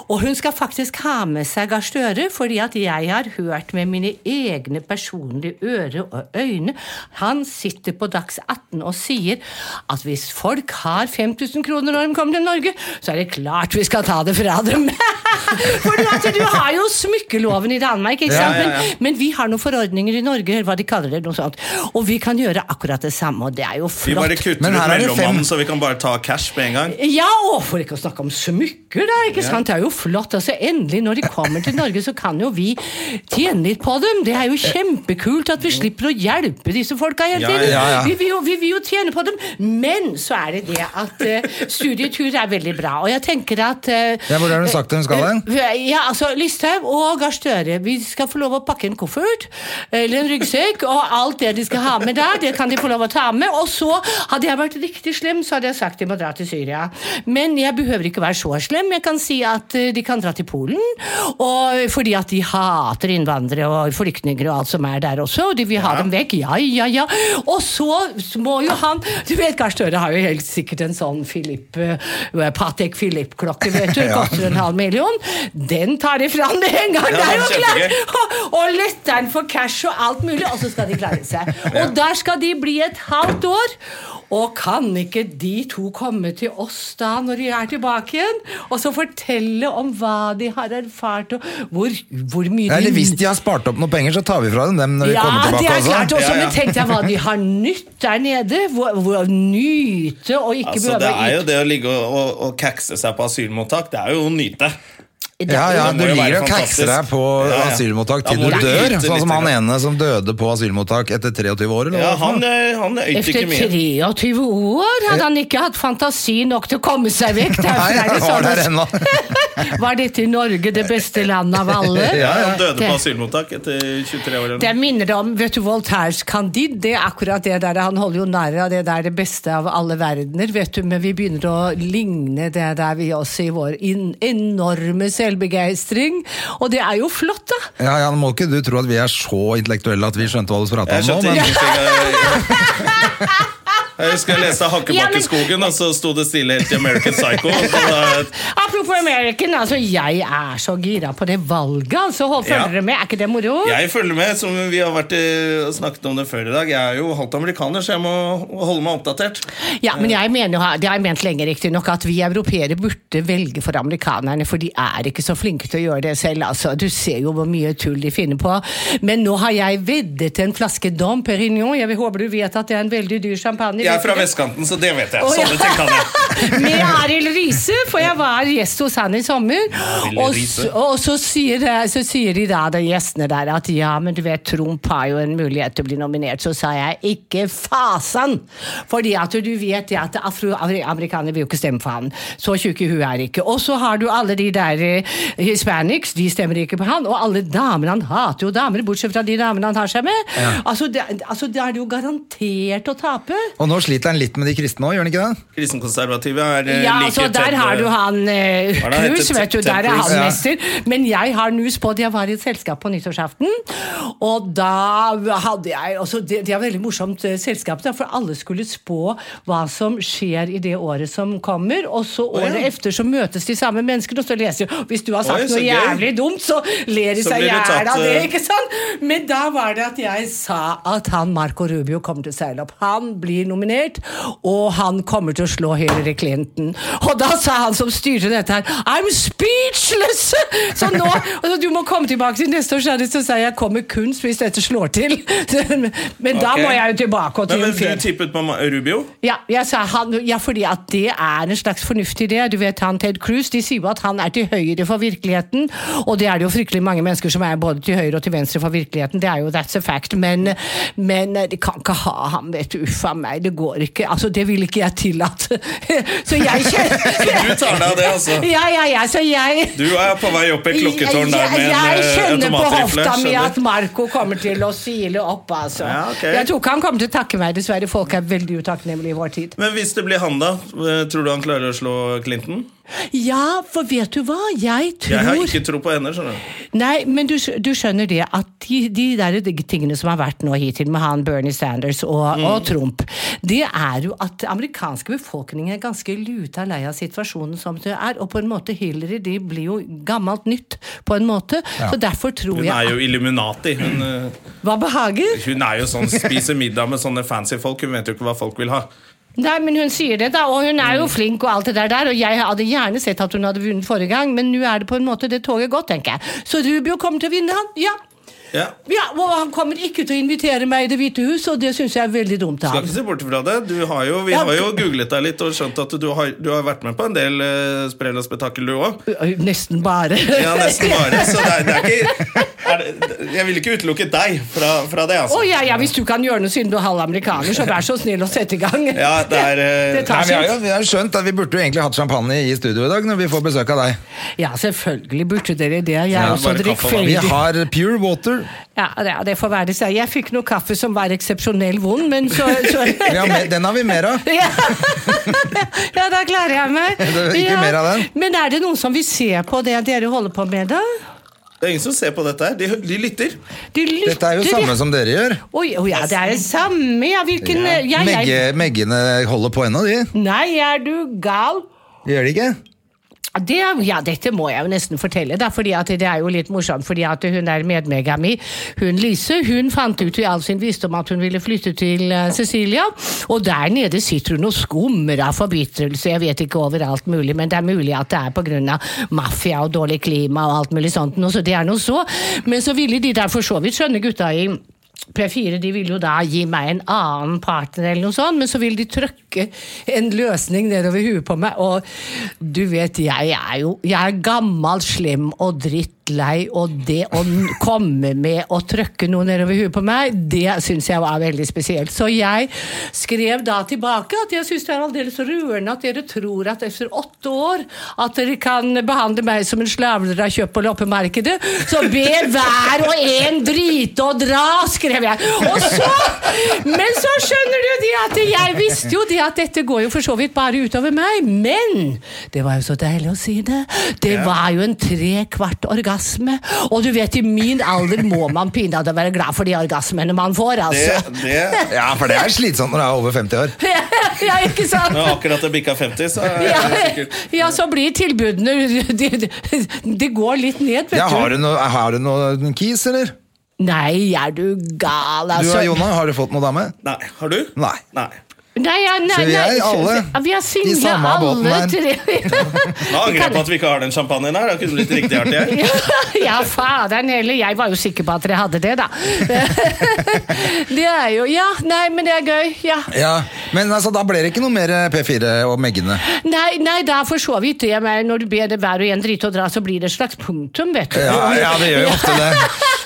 Speaker 3: Og hun skal faktisk ha med seg Gahr Støre, fordi at jeg har hørt med mine egne personlige ører og øyne Han sitter på Dags 18 og sier at hvis folk har 5000 kroner når de kommer til Norge, så er det klart vi skal ta det fra dem. For du, altså, du har jo smykkeloven i Danmark, ikke sant?
Speaker 1: ja, ja.
Speaker 3: Men, men vi har noen forordninger i Norge, eller hva de kaller det, noe sånt. Og vi kan gjøre akkurat det samme, og det er jo
Speaker 1: Vi
Speaker 3: flott.
Speaker 1: bare kutter
Speaker 2: Men
Speaker 1: ut
Speaker 2: her er det fem.
Speaker 1: mellommannen, så vi kan bare ta cash med en gang.
Speaker 3: Ja, og for ikke å snakke om smykker, da. ikke sant? Det er jo flott. altså Endelig, når de kommer til Norge, så kan jo vi tjene litt på dem. Det er jo kjempekult at vi slipper å hjelpe disse folka hele
Speaker 1: Ja,
Speaker 3: tiden.
Speaker 2: ja, ja.
Speaker 3: Vi, vil jo, vi vil jo tjene på dem. Men så er det det at eh, studietur er veldig bra. Og jeg tenker at eh,
Speaker 2: Ja, hvor har hun sagt hun skal hen?
Speaker 3: ja, altså Listhaug og Gahr Støre, vi skal få lov å pakke en koffert eller en ryggsekk, og alt det de skal ha med der, det kan de få lov å ta med. Og så, hadde jeg vært riktig slem, så hadde jeg sagt de må dra til Syria. Men jeg behøver ikke være så slem. Jeg kan si at eh, de kan dra til Polen, og fordi at de hater innvandrere og flyktninger og alt som er der også, og de vil ha dem vekk. Ja, ja, ja. Og så må jo han Du vet, Gahr Støre har jo helt sikkert en sånn Philip, eh, Patek Philip-klokke, vet du.
Speaker 2: Ja.
Speaker 3: Koster en halv million. Den tar de fram med en gang!
Speaker 1: Ja,
Speaker 3: det er jo
Speaker 1: det er
Speaker 3: klart!
Speaker 1: kjempegøy.
Speaker 3: Og, og lytteren får cash og alt mulig, og så skal de klare seg. Og der skal de bli et halvt år. Og kan ikke de to komme til oss da når de er tilbake igjen, og så fortelle om hva de har erfart, og hvor, hvor mye
Speaker 2: Ja, Eller
Speaker 3: de
Speaker 2: hvis de har spart opp noen penger, så tar vi fra dem dem når vi
Speaker 3: ja,
Speaker 2: kommer
Speaker 3: det
Speaker 2: tilbake.
Speaker 3: er klart
Speaker 2: også.
Speaker 3: også,
Speaker 1: Ja, ja.
Speaker 3: men tenk deg hva de har nytt der nede. Hvor, hvor nyte og ikke
Speaker 1: Altså, det
Speaker 3: behøve å
Speaker 1: er jo
Speaker 3: yte.
Speaker 1: det å ligge og, og, og kakse seg på asylmottak, det er jo å nyte.
Speaker 3: Det er
Speaker 2: Ja,
Speaker 3: jo-
Speaker 2: ja,
Speaker 1: Det
Speaker 2: Du
Speaker 1: må jo
Speaker 2: ligger
Speaker 1: være
Speaker 2: og kakser deg
Speaker 1: fantastisk.
Speaker 2: på
Speaker 1: Ja, ja.
Speaker 2: asylmottak
Speaker 1: Da
Speaker 2: til
Speaker 1: må
Speaker 2: du
Speaker 1: du
Speaker 2: dør.
Speaker 1: yte
Speaker 2: Sånn som
Speaker 1: litt
Speaker 2: han
Speaker 1: grann.
Speaker 2: ene som døde på asylmottak etter 23 år. Eller
Speaker 1: Ja,
Speaker 2: hva for
Speaker 1: han,
Speaker 2: noe?
Speaker 1: eh, han øyte
Speaker 3: Efter
Speaker 1: ikke mye.
Speaker 3: 23 år hadde han ikke hatt fantasi nok til å komme seg vekk.
Speaker 2: Nei,
Speaker 3: Derfor er
Speaker 2: han
Speaker 3: det
Speaker 2: var der
Speaker 3: sånn
Speaker 2: ennå.
Speaker 3: at, var dette i Norge det beste landet av alle?
Speaker 1: Ja, han døde på
Speaker 3: Det-
Speaker 1: asylmottak etter 23 år. eller noe.
Speaker 3: Det minner om vet du, Voltaires Candide. Det er akkurat det der. Han holder jo narr av det der det beste av alle verdener, vet du. Men vi begynner å ligne det der vi også i vår in enorme selvbegeistring. Og det er jo flott, da.
Speaker 2: Ja, ja, nå må ikke du tro at vi er så intellektuelle at vi skjønte hva du prata
Speaker 1: Jeg
Speaker 2: om nå,
Speaker 1: skjønte
Speaker 2: men
Speaker 1: ingenting. av- Jeg husker jeg leste
Speaker 3: Ja, men-
Speaker 1: Hakkebakkeskogen, og så sto det stille helt til American Psycho. og så da-
Speaker 3: Apropos American, altså jeg er så gira på det valget, altså. Hold
Speaker 1: Ja.
Speaker 3: følger dere med, er ikke det moro?
Speaker 1: Jeg følger med, som vi har vært eh, og snakket om det før i dag. Jeg er jo halvt amerikaner, så jeg må holde meg oppdatert.
Speaker 3: Ja, men jeg mener, jo- det har jeg ment lenge riktig nok, at vi europeere burde velge for amerikanerne, for de er ikke så flinke til å gjøre det selv. Altså, du ser jo hvor mye tull de finner på. Men nå har jeg veddet en flaske Dom Perignon, jeg vil- håper du vet at det er en veldig dyr champagne.
Speaker 1: Jeg er
Speaker 3: vet du
Speaker 1: fra
Speaker 3: det?
Speaker 1: vestkanten, så det vet jeg.
Speaker 3: Å, ja.
Speaker 1: Sånne ting kan jeg.
Speaker 3: med Arild Riise, for jeg var gjest hos han i sommer.
Speaker 1: Arild
Speaker 3: Og,
Speaker 1: Riise.
Speaker 3: s- og så, sier, så sier de da, de gjestene der, at ja, men du vet, Trump har jo en mulighet til å bli nominert. Så sa jeg ikke fasan! Fordi at du vet det at afroamerikanere vil jo ikke stemme for han. Så tjukke i huet er de ikke. Og så har du alle de der eh, hispanics, de stemmer ikke på han. Og alle damene, han hater jo damer, bortsett fra de damene han har seg med. Altså, det, altså, da er det jo garantert å tape.
Speaker 2: Og nå sliter han litt med de kristne òg, gjør han ikke det?
Speaker 1: Kristenkonservative er eh,
Speaker 3: Ja,
Speaker 1: like
Speaker 3: altså, der
Speaker 1: tett,
Speaker 3: har du
Speaker 1: eh,
Speaker 3: han eh,
Speaker 1: Hva er det han
Speaker 3: Cruz,
Speaker 1: heter?
Speaker 3: vet du.
Speaker 1: Ted
Speaker 3: Der er han
Speaker 2: Cruz, ja.
Speaker 3: mester. Men jeg har nus på at jeg var i et selskap på nyttårsaften, og da hadde jeg altså, det, det er veldig morsomt eh, selskap, da, for alle skulle spå hva som skjer i det året som kommer, og så året
Speaker 1: ja.
Speaker 3: efter så møtes de samme menneskene, og så leser de Hvis du har sagt
Speaker 1: Oi, så
Speaker 3: noe
Speaker 1: gøy.
Speaker 3: jævlig dumt, så ler de
Speaker 1: Så
Speaker 3: seg i
Speaker 1: blir du
Speaker 3: hjel
Speaker 1: tatt,
Speaker 3: av det,
Speaker 1: eh,
Speaker 3: ikke sant? Men da var det at jeg sa at han Marco Rubio kommer til å seile opp. Han blir nominert, og han kommer til å slå Hillary Clinton. Og da sa han som styrte dette her, I'm speechless! Så nå, altså, du må komme tilbake til neste år, Sherry, så sier jeg jeg kommer kunst hvis dette slår til. Men da
Speaker 1: Ok.
Speaker 3: må jeg jo tilbake og
Speaker 1: Men, men
Speaker 3: triumfere.
Speaker 1: du tippet på Ma- Rubio?
Speaker 3: Ja, jeg sa han, ja, fordi at det er en slags fornuftig idé. Du vet han Ted Cruz, de sier jo at han er til høyre for virkeligheten, og det er det jo fryktelig mange mennesker som er både til høyre og til venstre for virkeligheten, det er jo that's a fact, men, men eh, de kan ikke ha ham, vet du, uff a meg, det går ikke, altså det vil ikke jeg tillate. Så jeg kjenner...
Speaker 1: Du tar deg av det, altså.
Speaker 3: Ja, ja, ja, så jeg...
Speaker 1: Du er på vei opp i klokketårn der med
Speaker 3: Jeg-
Speaker 1: en eh,
Speaker 3: Jeg kjenner på
Speaker 1: automatrifle.
Speaker 3: hofta mi
Speaker 1: skjønner.
Speaker 3: at Marco kommer til å sile opp, altså.
Speaker 1: Ja, ok.
Speaker 3: Jeg tror ikke han kommer til å takke meg, dessverre. Folk er veldig utakknemlige i vår tid.
Speaker 1: Men hvis det blir han, da? eh, Tror du han klarer å slå Clinton?
Speaker 3: Ja, for vet du hva? Jeg tror
Speaker 1: Jeg har ikke tro på henne. skjønner du
Speaker 3: Nei, men du, skj- du skjønner det at de, de der tingene som har vært nå hittil med han Bernie Sanders og,
Speaker 1: Mm.
Speaker 3: og Trump, det er jo at amerikanske befolkningen er ganske luta lei av situasjonen som det er. Og på en måte Hillary de blir jo gammelt nytt, på en måte. Så derfor tror
Speaker 1: Hun
Speaker 3: jeg
Speaker 1: er jo Illuminati. Hun, eh,
Speaker 3: at Hva behager?
Speaker 1: hun er jo sånn spiser middag med sånne fancy folk. Hun vet jo ikke hva folk vil ha.
Speaker 3: Nei, men hun sier det, da. Og hun er
Speaker 1: Mm.
Speaker 3: jo flink og alt det der der. Og jeg hadde gjerne sett at hun hadde vunnet forrige gang, men nå er det på en måte det toget gått, tenker jeg. Så Rubio kommer til å vinne, han. Ja.
Speaker 1: Ja.
Speaker 3: Ja, og Han kommer ikke til å invitere meg i Det hvite hus, og det syns jeg er veldig dumt av
Speaker 1: Skal
Speaker 3: ham.
Speaker 1: ikke se bort ifra det. Du har jo, vi
Speaker 3: Ja.
Speaker 1: har jo googlet deg litt og skjønt at du har, du har vært med på en del uh, sprell og spetakkel, du òg.
Speaker 3: Ø, ø, Nesten bare.
Speaker 1: Ja, nesten bare. Så det er, det er ikke er det, Jeg ville ikke utelukket deg fra, fra det,
Speaker 3: Å
Speaker 1: altså.
Speaker 3: ja, ja, hvis du kan gjøre noe siden du er halv amerikaner, så vær så snill å sette i gang.
Speaker 1: Ja, det er eh,
Speaker 3: Det tar-
Speaker 2: Nei, vi, har jo, vi har skjønt at vi burde jo egentlig hatt champagne i studio i dag når vi får besøk av deg.
Speaker 3: Ja, selvfølgelig burde dere det. Jeg er
Speaker 2: Ja,
Speaker 3: også
Speaker 1: bare kaffe, da.
Speaker 2: Vi
Speaker 3: drikkfeldig.
Speaker 2: har pure water.
Speaker 3: Ja, det, det får være seg. Jeg fikk noe kaffe som var eksepsjonell vond, men så, så
Speaker 2: Vi har mer, den har vi mer av.
Speaker 3: Ja. ja, da klarer jeg meg.
Speaker 2: Det er ikke
Speaker 3: ja.
Speaker 2: mer av den.
Speaker 3: Men er det noen som vil se på det dere holder på med, da?
Speaker 1: Det er ingen som ser på dette her. De, hø- de lytter.
Speaker 3: De lytter,
Speaker 2: Dette er jo samme som dere gjør.
Speaker 3: Oi, oi, ja, det er det samme, ja. Hvilken ja. Jeg,
Speaker 2: Megge, meggene holder på ennå, de.
Speaker 3: Nei, er du gal?
Speaker 2: Gjør de ikke?
Speaker 3: Det, ja, dette må jeg jo nesten fortelle, da, fordi at det er jo litt morsomt. fordi at Hun der medmega mi, hun Lise, hun fant ut i all sin visdom at hun ville flytte til eh, Cecilia. Og der nede sitter hun og skummer av forbitrelse, jeg vet ikke overalt mulig, men det er mulig at det er pga. mafia og dårlig klima og alt mulig sånt, nå, så det er nå så. Men så ville de der for så vidt skjønne gutta i P4 de ville jo da gi meg en annen partner, eller noe sånt, men så ville de trøkke en løsning nedover huet på meg. Og du vet, jeg er jo jeg er gammel, slem og drittlei, og det å n- komme med å trøkke noe nedover huet på meg, det syns jeg var veldig spesielt. Så jeg skrev da tilbake at jeg syns det er aldeles rørende at dere tror at etter åtte år at dere kan behandle meg som en slavler av kjøp- og loppemarkedet, så ber hver og en drite og dra, skrev jeg. Og så, men så skjønner du det at jeg visste jo det at dette går jo for så vidt bare utover meg, men det var jo så deilig å si det. Det var jo en tre kvart orgasme, og du vet i min alder må man pinadø være glad for de orgasmene man får,
Speaker 1: Det,
Speaker 3: altså.
Speaker 1: det
Speaker 2: Ja, for det er slitsomt når du er over 50 år.
Speaker 3: Ja, ikke sant?
Speaker 1: Når akkurat det bikka 50, så er
Speaker 3: ja,
Speaker 1: det sikkert
Speaker 3: ja, så blir tilbudene De, de, de går litt ned, vet
Speaker 2: Ja, har
Speaker 3: du.
Speaker 2: du noe, har du noe kis, eller?
Speaker 3: Nei, er du gal,
Speaker 2: Du
Speaker 3: altså.
Speaker 2: og Jonna, har du fått noe dame?
Speaker 1: Nei. Har du?
Speaker 2: Nei.
Speaker 1: Nei.
Speaker 3: Nei, ja, nei,
Speaker 2: Så vi er
Speaker 3: nei,
Speaker 2: alle
Speaker 3: ja, Vi er
Speaker 2: i
Speaker 3: single,
Speaker 2: samme båten
Speaker 3: alle
Speaker 2: her.
Speaker 3: tre.
Speaker 1: Nå angrer jeg på at vi ikke har den champagnen her. Det kunne blitt riktig artig. her.
Speaker 3: ja, faderen heller. Jeg var jo sikker på at dere hadde det, da. det er jo Ja, nei, men det er gøy. Ja.
Speaker 2: Ja, Men altså, da ble det ikke noe mer eh, P4 og meggene.
Speaker 3: Nei, nei, det er for så vidt det. Men når du ber det hver og en drite og dra, så blir det et slags punktum, vet du.
Speaker 2: Ja, ja, det gjør jo ofte det.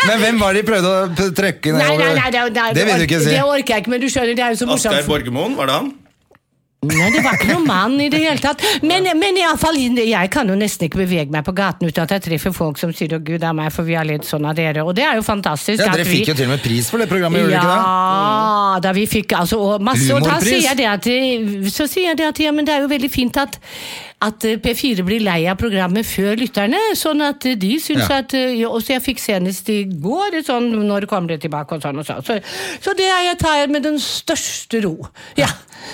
Speaker 2: Men hvem var det de prøvde å p- trekke
Speaker 3: Nei,
Speaker 2: nedover?
Speaker 3: nei, nei, det,
Speaker 2: det vil du ikke si.
Speaker 3: Det orker jeg ikke, men du skjønner, det er jo så
Speaker 1: Asgeir
Speaker 3: morsomt.
Speaker 1: Borgermoen, var det han?
Speaker 3: Nei, det var ikke noen mann i det hele tatt. Men, men i alle fall, jeg kan jo nesten ikke bevege meg på gaten uten at jeg treffer folk som sier 'Å, gud det er meg, for vi har ledd sånn av dere'. Og det er jo fantastisk.
Speaker 2: Ja,
Speaker 3: at
Speaker 2: Dere
Speaker 3: vi-
Speaker 2: fikk jo til og med pris for det programmet, gjorde dere ikke det?
Speaker 3: ja, da vi fikk altså og masse Og da
Speaker 2: Humorpris.
Speaker 3: sier jeg det at Så sier jeg det at ja, men det er jo veldig fint at at eh, P4 blir lei av programmet før lytterne, sånn at eh, de syns
Speaker 2: Ja.
Speaker 3: at eh, ja, Og så jeg fikk senest i går et sånn Når kommer det tilbake, og sånn og sånn. Så, så det er jeg tar jeg med den største ro. Ja.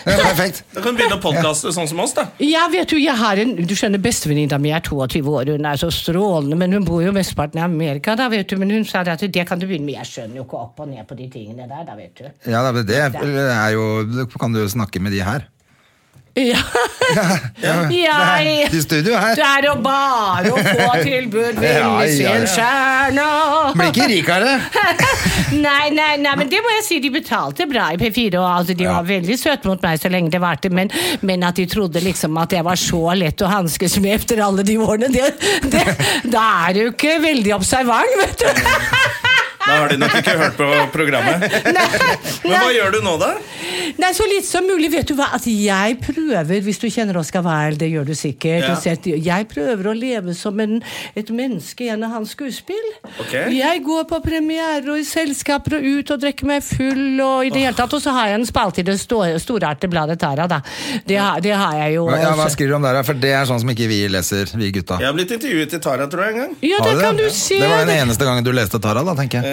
Speaker 2: Ja, perfekt.
Speaker 1: Da kan du begynne å podkaste sånn som oss, da.
Speaker 3: Jeg vet jo, jeg har en, du skjønner, Bestevenninna mi er 22 år, hun er så strålende, men hun bor jo mesteparten i Amerika. da vet du, Men hun sa det at det kan du begynne med, jeg skjønner jo ikke opp og ned på de tingene der. da vet du.
Speaker 2: Ja, da, men det er jo da Kan du jo snakke med de her?
Speaker 3: Ja.
Speaker 2: Det er-
Speaker 3: Jeg
Speaker 2: De i studio her.
Speaker 3: Det er jo bare å få tilbud ved
Speaker 2: Ja, ja, ja.
Speaker 3: Lillesundstjerna.
Speaker 2: Blir ikke rikere!
Speaker 3: Nei, nei, nei, men det må jeg si, de betalte bra i P4. Og altså, de
Speaker 2: Ja.
Speaker 3: var veldig søte mot meg så lenge det varte, men, men at de trodde liksom at jeg var så lett å hanskes med etter alle de årene, det, det, da er du ikke veldig observant, vet du.
Speaker 1: Da har de nok ikke hørt på programmet. Men hva gjør du nå, da?
Speaker 3: Nei, så litt som mulig, vet du hva. At jeg prøver, hvis du kjenner Oscar Wilde, det gjør du sikkert.
Speaker 1: Ja.
Speaker 3: og sett- Jeg prøver å leve som en, et menneske gjennom hans skuespill.
Speaker 1: Ok.
Speaker 3: Jeg går på premierer og i selskaper og ut og drikker meg full og i det hele tatt. Og så har jeg en spalte i det sto- storartede bladet Tara, da. Det, har- det har jeg jo.
Speaker 2: Hva, ja, hva
Speaker 3: også.
Speaker 2: skriver du om der, da? for det er sånn som ikke vi leser, vi gutta.
Speaker 1: Jeg har blitt intervjuet i Tara, tror jeg, en gang.
Speaker 3: ja,
Speaker 2: Har
Speaker 3: det kan du
Speaker 2: Ja.
Speaker 3: se.
Speaker 2: Det var den eneste gangen du leste Tara, da, tenker jeg.
Speaker 1: Eh,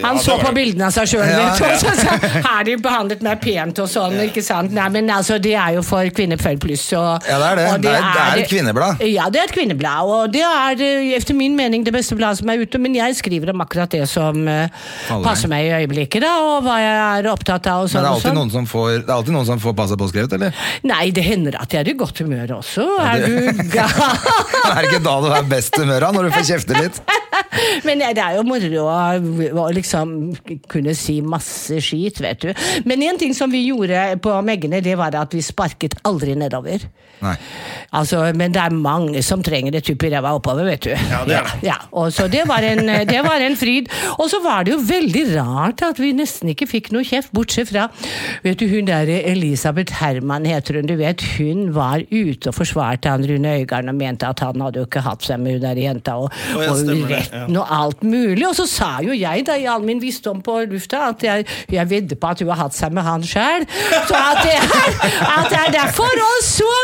Speaker 1: ja,
Speaker 3: Han
Speaker 1: det
Speaker 3: så
Speaker 1: var
Speaker 3: på
Speaker 1: det.
Speaker 3: bildene av seg sjøl,
Speaker 2: Ja,
Speaker 3: vet du. og Så, sa han, har de behandlet meg pent og sånn, ikke sant. Nei, men altså, det er jo for kvinner før pluss. Og,
Speaker 2: Ja, det er det.
Speaker 3: og
Speaker 2: Det er- det er et kvinneblad.
Speaker 3: Ja, det er et kvinneblad. Og det er eh, etter min mening det beste bladet som er ute. Men jeg skriver om akkurat det som eh,
Speaker 2: Faller deg.
Speaker 3: passer meg i øyeblikket, da, og hva jeg er opptatt av
Speaker 2: Men
Speaker 3: og
Speaker 2: det
Speaker 3: sånn.
Speaker 2: er
Speaker 3: og
Speaker 2: alltid
Speaker 3: sånn.
Speaker 2: noen som får, det er alltid noen som får passet påskrevet, eller?
Speaker 3: Nei, det hender at jeg er i godt humør også. Er du gal?
Speaker 2: Er det ikke da du er best humør av, når du får kjefte litt?
Speaker 3: Men det er jo moro å, å liksom kunne si masse skit, vet du. Men en ting som vi gjorde på Meggene, det var at vi sparket aldri nedover.
Speaker 2: Nei.
Speaker 3: Altså, men det er mange som trenger et tupp i ræva oppover, vet du. Ja,
Speaker 1: det er det.
Speaker 3: ja, og så det var, en, det var en fryd. Og så var det jo veldig rart at vi nesten ikke fikk noe kjeft, bortsett fra Vet du, hun der Elisabeth Herman heter hun, du vet. Hun var ute og forsvarte han Rune Øygarden og mente at han hadde jo ikke hatt seg med hun der jenta, og,
Speaker 1: ja,
Speaker 3: og
Speaker 1: stemmer det, ja.
Speaker 3: retten og alt mulig. Og så sa jo jeg da i all min visdom på lufta at jeg, jeg vedder på at hun har hatt seg med han sjøl, så at det er, at det er derfor. Og så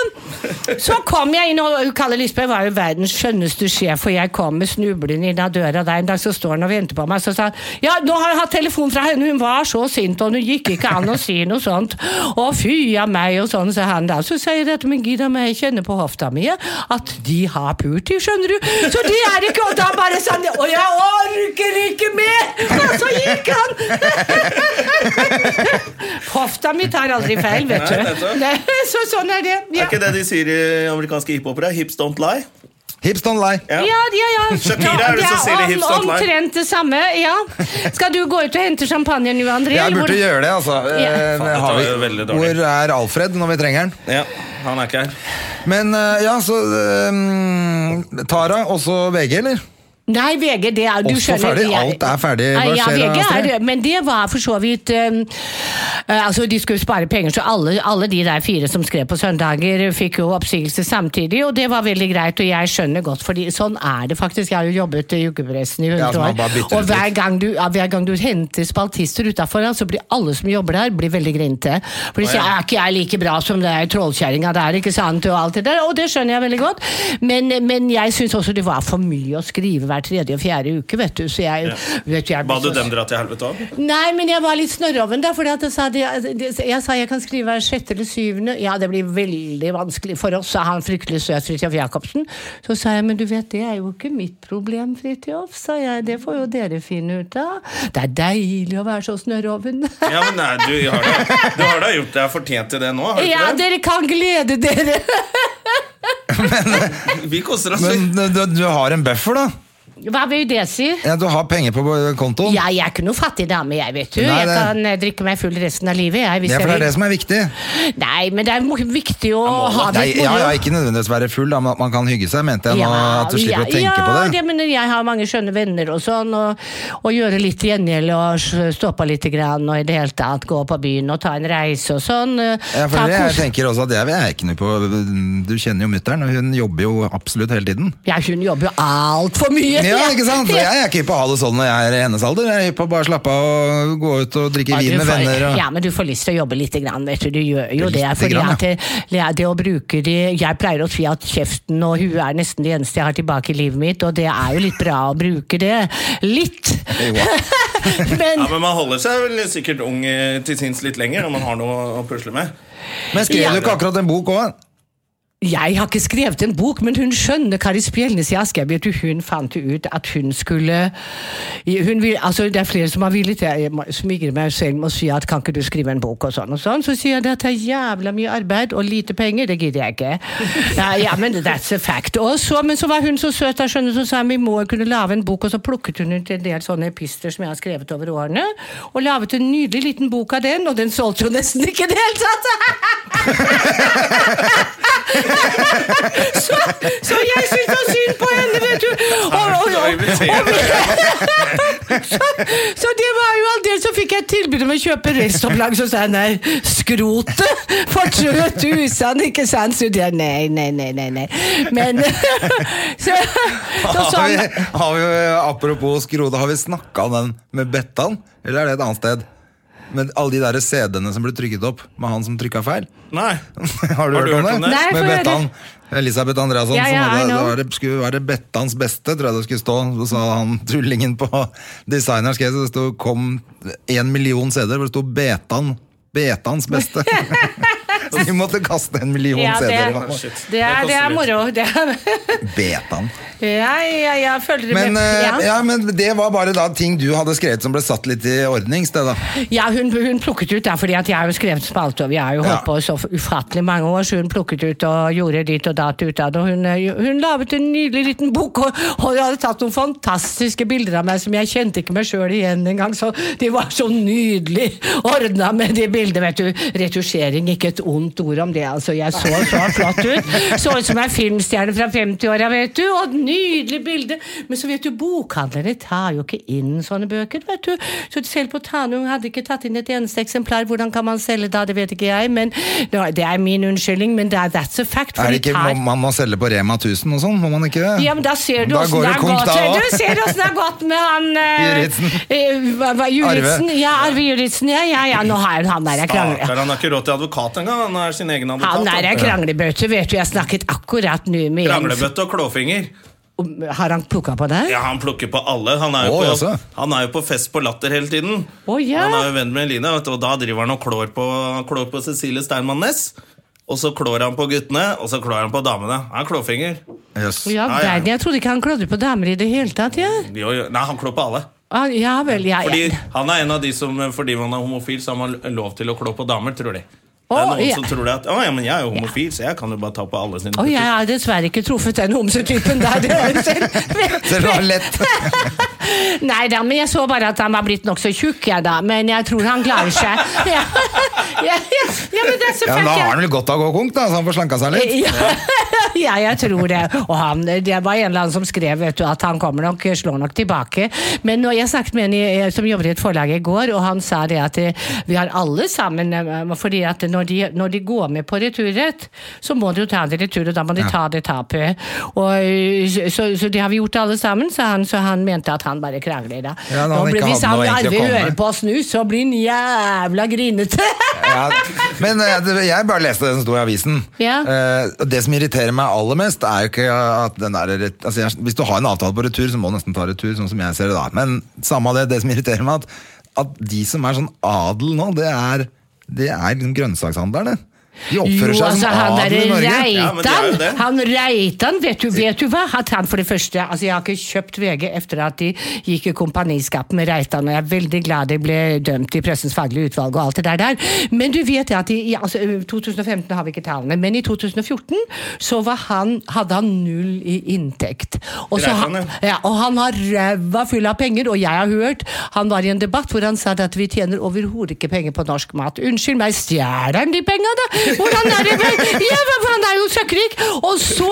Speaker 3: så kom jeg inn, og Kalle Lisbeth var jo verdens skjønneste sjef, og jeg kom med snublende inn av døra der en dag, så står han og venter på meg, så sa han ja, nå har jeg hatt telefon fra henne, hun var så sint, og det gikk ikke an å si noe sånt, å fy av meg, og sånn, sa han da. Så sier jeg at men gidda meg, jeg kjenner på hofta mi jeg, at de har pult, de, skjønner du. Så det er ikke, og da bare sånn, og jeg orker ikke mer! Og så gikk han! Hofta mi tar aldri feil, vet
Speaker 1: Nei,
Speaker 3: du.
Speaker 1: nettopp.
Speaker 3: Nei, så sånn er det.
Speaker 1: Er
Speaker 3: Ja.
Speaker 1: ikke det de sier i amerikanske hiphopere? Hips don't lie.
Speaker 2: Hips don't lie.
Speaker 1: Ja.
Speaker 3: Ja, ja, ja.
Speaker 1: Shakira
Speaker 3: Ja,
Speaker 1: er det som sier det
Speaker 3: om-
Speaker 1: hipster online.
Speaker 3: Omtrent det samme, ja. Skal du gå ut og hente champagne nå, André?
Speaker 2: Jeg
Speaker 3: eller
Speaker 2: burde
Speaker 3: hvor-
Speaker 2: gjøre det, altså.
Speaker 3: Ja.
Speaker 2: Eh,
Speaker 1: Faen, dette
Speaker 2: har
Speaker 1: var
Speaker 2: vi-
Speaker 1: jo veldig dårlig.
Speaker 2: Hvor er Alfred når vi trenger han?
Speaker 1: Ja, han er ikke her.
Speaker 2: Men eh, ja, så eh, Tara, også VG, eller?
Speaker 3: Nei, VG, det er du
Speaker 2: Også
Speaker 3: skjønner,
Speaker 2: ferdig?
Speaker 3: de
Speaker 2: Alt er ferdig?
Speaker 3: Nei,
Speaker 2: Hva
Speaker 3: Ja,
Speaker 2: skjer da,
Speaker 3: VG
Speaker 2: Astrid?
Speaker 3: er, men det var for så vidt um, eh, Altså, de skulle spare penger, så alle, alle de der fire som skrev på søndager, fikk jo oppsigelse samtidig, og det var veldig greit, og jeg skjønner godt, fordi sånn er det faktisk. Jeg har jo jobbet i ukepressen i 100
Speaker 2: Ja, så man
Speaker 3: år,
Speaker 2: bare bytter
Speaker 3: og
Speaker 2: ut
Speaker 3: hver
Speaker 2: litt.
Speaker 3: gang du, ja, hver gang du henter spaltister utafor, så blir alle som jobber der, blir veldig grinte. For de sier er ikke jeg like bra som det er trollkjerringa der, ikke sant, og alt det der. Og det skjønner jeg veldig godt, men, men jeg syns også det var for mye å skrive hver tredje og fjerde uke, vet du, så jeg, vet du, jeg ble
Speaker 1: Ba du
Speaker 3: så-
Speaker 1: dem dra til helvete òg?
Speaker 3: Nei, men jeg var litt snørroven, da. For jeg, sa det- det- jeg sa jeg kan skrive hver sjette eller syvende. Ja, det blir veldig vanskelig for oss, sa han fryktelig søt Fridtjof Jacobsen. Så sa jeg, men du vet, det er jo ikke mitt problem, Fridtjof, sa jeg. Det får jo dere finne ut av. Det er deilig å være så snørroven.
Speaker 1: Ja, men nei, du har da, du har da gjort deg fortjent til det nå? Har du
Speaker 3: Ja,
Speaker 1: ikke det?
Speaker 3: dere kan glede dere.
Speaker 1: Vi koser oss. vi.
Speaker 2: eh, Men du, du har en buffer, da?
Speaker 3: Hva vil det si?
Speaker 2: Ja, du har penger på kontoen?
Speaker 3: Ja, jeg er ikke noe fattig dame, jeg, vet du.
Speaker 2: Nei,
Speaker 3: jeg
Speaker 2: det-
Speaker 3: kan eh, drikke meg full resten av livet, jeg. Hvis
Speaker 2: Ja, for det er det
Speaker 3: jeg
Speaker 2: som er viktig.
Speaker 3: vil. Nei, men det er mo- viktig å ha det
Speaker 2: Nei,
Speaker 3: litt
Speaker 2: ja,
Speaker 3: moro.
Speaker 2: ja, ikke nødvendigvis være full, da, men at man kan hygge seg, mente jeg. nå,
Speaker 3: Ja,
Speaker 2: at du slipper
Speaker 3: ja,
Speaker 2: å tenke
Speaker 3: ja,
Speaker 2: på det.
Speaker 3: men jeg har mange skjønne venner og sånn, og, og gjøre litt gjengjeld og s- stå på litt grann, og i det hele tatt gå på byen og ta en reise og sånn. eh,
Speaker 2: Ja, for
Speaker 3: ta
Speaker 2: det, jeg
Speaker 3: kos-
Speaker 2: tenker også at jeg, jeg er ikke noe på Du kjenner jo mutter'n, og hun jobber jo absolutt hele tiden.
Speaker 3: ja, hun jobber jo altfor mye!
Speaker 2: Ja, ikke sant? Så Jeg er ikke hypp på å ha det sånn når jeg er i hennes alder. Jeg er hypp på å bare slappe av og gå ut og drikke
Speaker 3: Ja,
Speaker 2: vin
Speaker 3: du
Speaker 2: med
Speaker 3: får-
Speaker 2: venner. Og...
Speaker 3: Ja, men du får lyst til å jobbe litt, grann, vet du. Du gjør jo
Speaker 2: Lite
Speaker 3: det. Fordi
Speaker 2: grann,
Speaker 3: at det, det å bruke de Jeg pleier å si at kjeften og huet er nesten det eneste jeg har tilbake i livet mitt, og det er jo litt bra å bruke det. Litt!
Speaker 1: Ja,
Speaker 3: men
Speaker 1: men Man holder seg vel sikkert ung eh, til sinns litt lenger når man har noe å pusle med.
Speaker 2: Men skrev
Speaker 3: Ja.
Speaker 2: du ikke akkurat en bok òg?
Speaker 3: jeg har ikke skrevet en bok, men hun skjønner Kari Spjelnes i Askeby. Hun fant ut at hun skulle hun vil, altså Det er flere som har villet Jeg må- smigrer meg selv med å si at kan ikke du skrive en bok og sånn og sånn. Så sier jeg at det er jævla mye arbeid og lite penger. Det gidder jeg ikke. Ja, ja men that's a fact. Og så, men så var hun så søt da, skjønner du, så sa hun vi må kunne lage en bok, og så plukket hun ut en del sånne epister som jeg har skrevet over årene, og laget en nydelig liten bok av den, og den solgte jo nesten ikke i det hele tatt! så, så jeg syntes det var synd på henne, vet du. Og, og, og, og, så, så det var jo aldeles Så fikk jeg et tilbud om å kjøpe restopplag, så sa jeg nei. Skrotet! Fortrøt usann, ikke sant? Så det, nei, nei, nei, nei, nei. Men så, så sånn- sa
Speaker 2: Har vi,
Speaker 3: han
Speaker 2: har vi, apropos skrode, har vi snakka om den med Bettan? Eller er det et annet sted? Med alle de der CD-ene som ble trykket opp med han som trykka feil?
Speaker 1: Nei.
Speaker 2: Har du, hørt om det?
Speaker 3: Nei, jeg får
Speaker 2: med
Speaker 3: høre.
Speaker 2: Bettan. Elisabeth Andreasson.
Speaker 3: Ja,
Speaker 2: som
Speaker 3: ja, I
Speaker 2: hadde, da
Speaker 3: know.
Speaker 2: var det skulle være Bettans beste, tror jeg det skulle stå. Så sa han tullingen på designeren skrev så det sto kom én million CD-er, hvor det sto Betan. Betans beste. Så de måtte kaste en million
Speaker 3: ja, det,
Speaker 2: CD-er.
Speaker 1: var- Shit.
Speaker 3: det, er, det er moro. Det er,
Speaker 2: Betan.
Speaker 3: ja, ja, ja, følger du
Speaker 2: Men,
Speaker 3: med?
Speaker 2: eh,
Speaker 3: Ja.
Speaker 2: ja, men det var bare da ting du hadde skrevet som ble satt litt i ordning. Stella.
Speaker 3: Ja, hun, hun plukket ut, da, fordi at jeg har jo skrevet spalte, og vi har jo holdt
Speaker 2: Ja.
Speaker 3: på så ufattelig mange år, så hun plukket ut og gjorde ditt og datt ut av det. og Hun, eh, hun laget en nydelig liten bok, og, og jeg hadde tatt noen fantastiske bilder av meg som jeg kjente ikke meg sjøl igjen engang, så de var så nydelig ordna med de bildene, vet du. Retusjering, ikke et ondt ord om det, altså. Jeg så så flott ut. Så ut som ei filmstjerne fra 50-åra, vet du, og et nydelig bilde. Men så vet du, bokhandlerne tar jo ikke inn sånne bøker, vet du. Så selv på Tanum hadde ikke tatt inn et eneste eksemplar. Hvordan kan man selge da, det vet ikke jeg, men nå, det er min unnskyldning, men det er, that's a fact. for
Speaker 2: Er det
Speaker 3: de
Speaker 2: ikke,
Speaker 3: tar-
Speaker 2: må, man må selge på Rema 1000 og sånn, må man ikke det?
Speaker 3: ja, men da ser du
Speaker 2: Da
Speaker 3: åssen
Speaker 2: går
Speaker 3: det
Speaker 2: det
Speaker 3: har
Speaker 2: konk
Speaker 3: gått.
Speaker 2: da også.
Speaker 3: Du ser åssen det har gått med han eh,
Speaker 2: Juritzen.
Speaker 3: eh, hva- hva- Juritzen.
Speaker 2: Arve.
Speaker 3: Ja, Arve Juritzen. Ja, ja, ja. Nå har jeg han der jeg krangler.
Speaker 1: Stakkar, han har ikke råd til advokat engang. Han er sin egen advokat.
Speaker 3: Han der
Speaker 1: da.
Speaker 3: er kranglebøtte, vet du. Jeg snakket akkurat nå med en
Speaker 1: Kranglebøtte og klåfinger.
Speaker 3: Om- Har han plukka på deg?
Speaker 1: Ja, han plukker på alle. Han er jo,
Speaker 2: Å,
Speaker 1: på,
Speaker 2: altså.
Speaker 1: han er jo på fest på Latter hele tiden.
Speaker 3: Å, ja.
Speaker 1: Han er jo venn med Eline, vet du, og da driver han og klår på, klår på Cecilie Steinmann Næss. Og så klår han på guttene, og så klår han på damene. Han er klåfinger.
Speaker 2: Jøss.
Speaker 3: Ja,
Speaker 1: Ja, ja.
Speaker 3: verden, jeg trodde ikke han klødde på damer i det hele tatt. Ja,
Speaker 1: Jo, jo. Nei, han klår på alle.
Speaker 3: ah, ja vel, ja.
Speaker 1: Fordi
Speaker 3: ja.
Speaker 1: han er en av de som Fordi man er homofil, så har man lov til å klå på damer, tror de. Det
Speaker 3: Å,
Speaker 1: er noen
Speaker 3: ja.
Speaker 1: som tror det at Å ja, men jeg er jo homofil, så jeg kan jo bare ta på alle sine
Speaker 3: Å, jeg har dessverre ikke truffet den homsetypen der. Det har jeg
Speaker 2: Selv om det var lett.
Speaker 3: Nei da, men jeg så bare at han var blitt nokså tjukk, jeg da. Men jeg tror han klarer seg. Ja, ja, ja, ja men det er så
Speaker 2: Ja, men da
Speaker 3: fælt,
Speaker 2: har
Speaker 3: ja.
Speaker 2: han vel godt av å gå konk, da, så han får slanka seg litt.
Speaker 3: Ja, ja, jeg tror det. Og han, det var en eller annen som skrev vet du, at han kommer nok, slår nok tilbake. Men når jeg snakket med en i, eh, som jobber i et forlag i går, og han sa det at eh, vi har alle sammen eh, fordi at når de, når de går med på returrett, så må de jo ta en retur, og da må de ta det tapet. Og, eh, så, så det har vi gjort alle sammen, sa han, så han mente at han bare krangler da.
Speaker 2: Ja, når
Speaker 3: Nå
Speaker 2: han
Speaker 3: blir-
Speaker 2: ikke
Speaker 3: hvis
Speaker 2: hadde
Speaker 3: han
Speaker 2: noe egentlig
Speaker 3: Arve
Speaker 2: å komme
Speaker 3: hører
Speaker 2: med.
Speaker 3: på oss nå, så blir han jævla grinete!
Speaker 2: Ja, men eh, det- jeg bare leste det som sto i avisen.
Speaker 3: Ja.
Speaker 2: Eh, og det som irriterer meg aller mest, er jo ikke at den der ret- altså, jeg, Hvis du har en avtale på retur, så må du nesten ta retur, sånn som jeg ser det da. Men samme av det, det som irriterer meg, at, at de som er sånn adel nå, det er, det er liksom grønnsakshandlerne. De oppfører seg
Speaker 3: altså,
Speaker 2: som adel i Norge.
Speaker 1: Ja, men det er jo
Speaker 3: Reitan,
Speaker 1: det.
Speaker 3: han Reitan, vet du, vet du hva? At han for det første, altså Jeg har ikke kjøpt VG etter at de gikk i kompaniskap med Reitan, og jeg er veldig glad de ble dømt i Pressens faglige utvalg og alt det der. der. Men du vet det at i i- altså, ø, 2015 har vi ikke tallene, men i 2014 så var han, hadde han null i inntekt. Og, så,
Speaker 1: Reitan,
Speaker 3: ha- ja, og han har ræva full av penger, og jeg har hørt han var i en debatt hvor han sa at vi tjener overhodet ikke penger på norsk mat. Unnskyld meg, stjeler han de penga, da? Hvordan er det vel? Ja, hva- for han er jo søkkrik! Og så,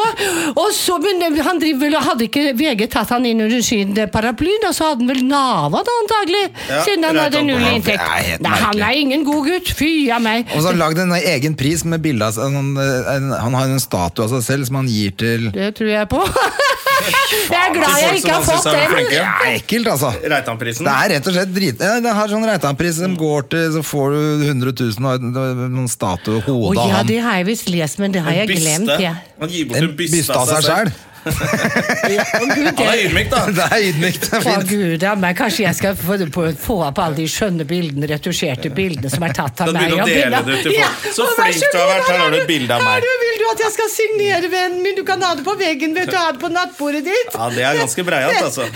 Speaker 3: og så men han driver vel og hadde ikke VG tatt han inn under sin eh, paraply, da, så hadde han vel nava, da, antagelig.
Speaker 1: Ja,
Speaker 3: siden han
Speaker 1: Reitan
Speaker 3: hadde null
Speaker 1: på
Speaker 3: i
Speaker 1: han.
Speaker 2: Det
Speaker 3: inntekt.
Speaker 2: er helt
Speaker 3: Nei, han
Speaker 2: merkelig.
Speaker 3: er ingen god gutt. Fy a meg.
Speaker 2: Og så har han lagd en egen pris med bilde av seg. Han, han, han har en statue av seg selv som han gir til
Speaker 3: Det tror jeg på. Jeg er glad jeg
Speaker 1: Til folk som
Speaker 3: ikke har
Speaker 1: han synes
Speaker 3: fått
Speaker 1: er
Speaker 3: den.
Speaker 1: flinke.
Speaker 2: Det er ekkelt, altså.
Speaker 1: Reitanprisen.
Speaker 2: Det er rett og slett drit... Ja, det har sånn Reitan-pris som går til Så får du 100 000 og en- noen statue og
Speaker 3: Å
Speaker 2: hodet av
Speaker 3: ja,
Speaker 2: ham.
Speaker 3: det har jeg visst lest, men det har jeg glemt. Ja.
Speaker 1: Han gir bort
Speaker 2: En
Speaker 1: en
Speaker 2: byste av seg
Speaker 1: selv.
Speaker 2: sjæl.
Speaker 3: Å, Gud,
Speaker 1: Han er
Speaker 3: det-
Speaker 1: ydmyk, da.
Speaker 2: Det er ydmykt. Det er
Speaker 3: Å,
Speaker 2: fint.
Speaker 3: Gud, ja, men kanskje jeg skal få, på- få opp alle de skjønne bildene, retusjerte bildene som er tatt
Speaker 1: Da
Speaker 3: av meg.
Speaker 1: begynner du å
Speaker 3: og
Speaker 1: dele
Speaker 3: bilder-
Speaker 1: det ut til folk. Så
Speaker 3: og vær
Speaker 1: flink du har
Speaker 3: god,
Speaker 1: vært, her har du et
Speaker 3: du-
Speaker 1: bilde av
Speaker 3: her
Speaker 1: meg.
Speaker 3: du- Vil du at jeg skal signere, vennen min? Du kan ha det på veggen, vet du. Ha det på nattbordet ditt.
Speaker 1: Ja, det er ganske breialt, altså.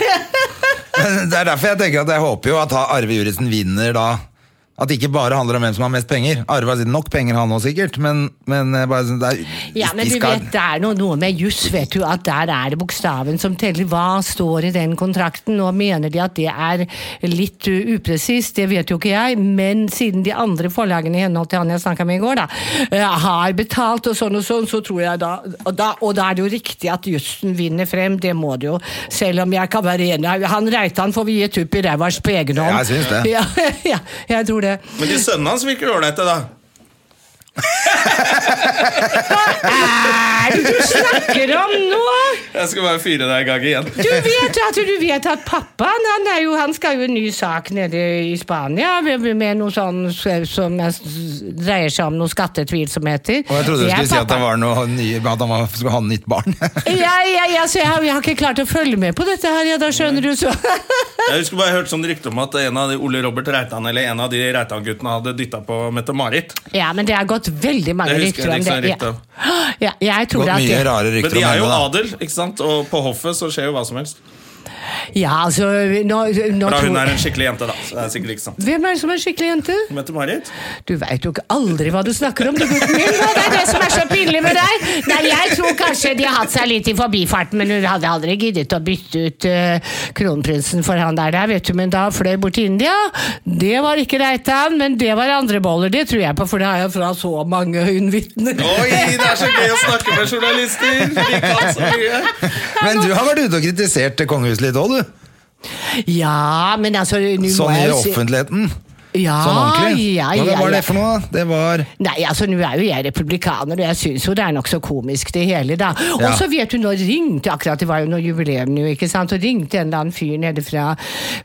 Speaker 2: Men Det er derfor jeg tenker at jeg håper jo at Arve Juritzen vinner da. At det ikke bare handler om hvem som har mest penger. Arve har sikkert nok penger, han òg sikkert, men, men jeg bare, synes det er,
Speaker 3: Ja, men du vet, det er noe, noe med juss, vet du, at der er det bokstaven som teller. Hva står i den kontrakten? Nå mener de at det er litt uh, upresist, det vet jo ikke jeg, men siden de andre forlagene i henhold til han jeg snakka med i går, da, eh, har betalt og sånn og sånn, så tror jeg da Og da, og da er det jo riktig at jussen vinner frem, det må det jo. Selv om jeg kan være enig. Han Reitan får vi gi et tupp i ræva på egen hånd.
Speaker 2: Jeg synes det.
Speaker 3: Ja, ja, jeg tror det.
Speaker 1: Men de sønnene hans virker ålreite, da.
Speaker 3: Hva er det du snakker om nå?
Speaker 1: Jeg skal bare fyre deg en gang igjen.
Speaker 3: Du vet, at, du vet at pappaen han, er jo, han skal jo en ny sak nede i Spania med, med noe sånn s- som er s- dreier seg om noe skattetvilsomheter.
Speaker 2: Og jeg trodde du
Speaker 3: Det er
Speaker 2: skulle si at
Speaker 3: pappa.
Speaker 2: det var noe nye, at han var, skulle ha nytt barn.
Speaker 3: ja, ja, ja, så jeg, har- jeg har ikke klart å følge med på dette her, ja, da skjønner du så.
Speaker 1: Jeg husker bare jeg hørte sånn rykte om at en av de Ole Robert Reitan eller en av de Reitan-guttene hadde dytta på Mette-Marit.
Speaker 3: ja, men det har gått veldig mange
Speaker 1: Det husker
Speaker 3: rykter om
Speaker 1: jeg
Speaker 3: det.
Speaker 1: liksom rykter om.
Speaker 3: Ja. Ja, jeg tror
Speaker 2: Gått
Speaker 3: at
Speaker 2: mye
Speaker 3: det,
Speaker 2: rare
Speaker 1: Men
Speaker 2: rykter
Speaker 1: de
Speaker 2: om
Speaker 1: er jo
Speaker 2: henne, da.
Speaker 1: adel, ikke sant? og på hoffet så skjer jo hva som helst.
Speaker 3: Ja, altså nå, nå
Speaker 1: Da hun
Speaker 3: tror-
Speaker 1: er en skikkelig jente, da. Så det er sikkert ikke sant.
Speaker 3: Hvem er det som er en skikkelig jente?
Speaker 1: Mette-Marit?
Speaker 3: Du veit jo ikke aldri hva du snakker om, du gutten min. og Det er det som er så pinlig med deg. Nei, Jeg tror kanskje de har hatt seg litt i forbifarten, men hun hadde aldri giddet å bytte ut eh, kronprinsen for han der, der, vet du. Men da han fløy bort til India. Det var ikke Reitan, men det var andre boller, det tror jeg på, for det har jeg fra så mange øyenvitner.
Speaker 1: Oi, det er så gøy å snakke med journalister! De kan så mye.
Speaker 2: Men du har vært ute og kritisert kongehuset litt òg, du.
Speaker 3: Ja, men altså nå må
Speaker 2: Sånn i
Speaker 3: jeg jo si-
Speaker 2: offentligheten.
Speaker 3: Ja,
Speaker 2: Sånn ordentlig.
Speaker 3: Ja,
Speaker 2: Hva
Speaker 3: ja,
Speaker 2: var
Speaker 3: ja.
Speaker 2: det for noe? da? Det var
Speaker 3: Nei, altså nå er jo jeg republikaner, og jeg syns jo det er nokså komisk det hele, da. Og så vet du, nå ringte akkurat det var jo noe jubileum nå, ikke sant, og ringte en eller annen fyr nede fra,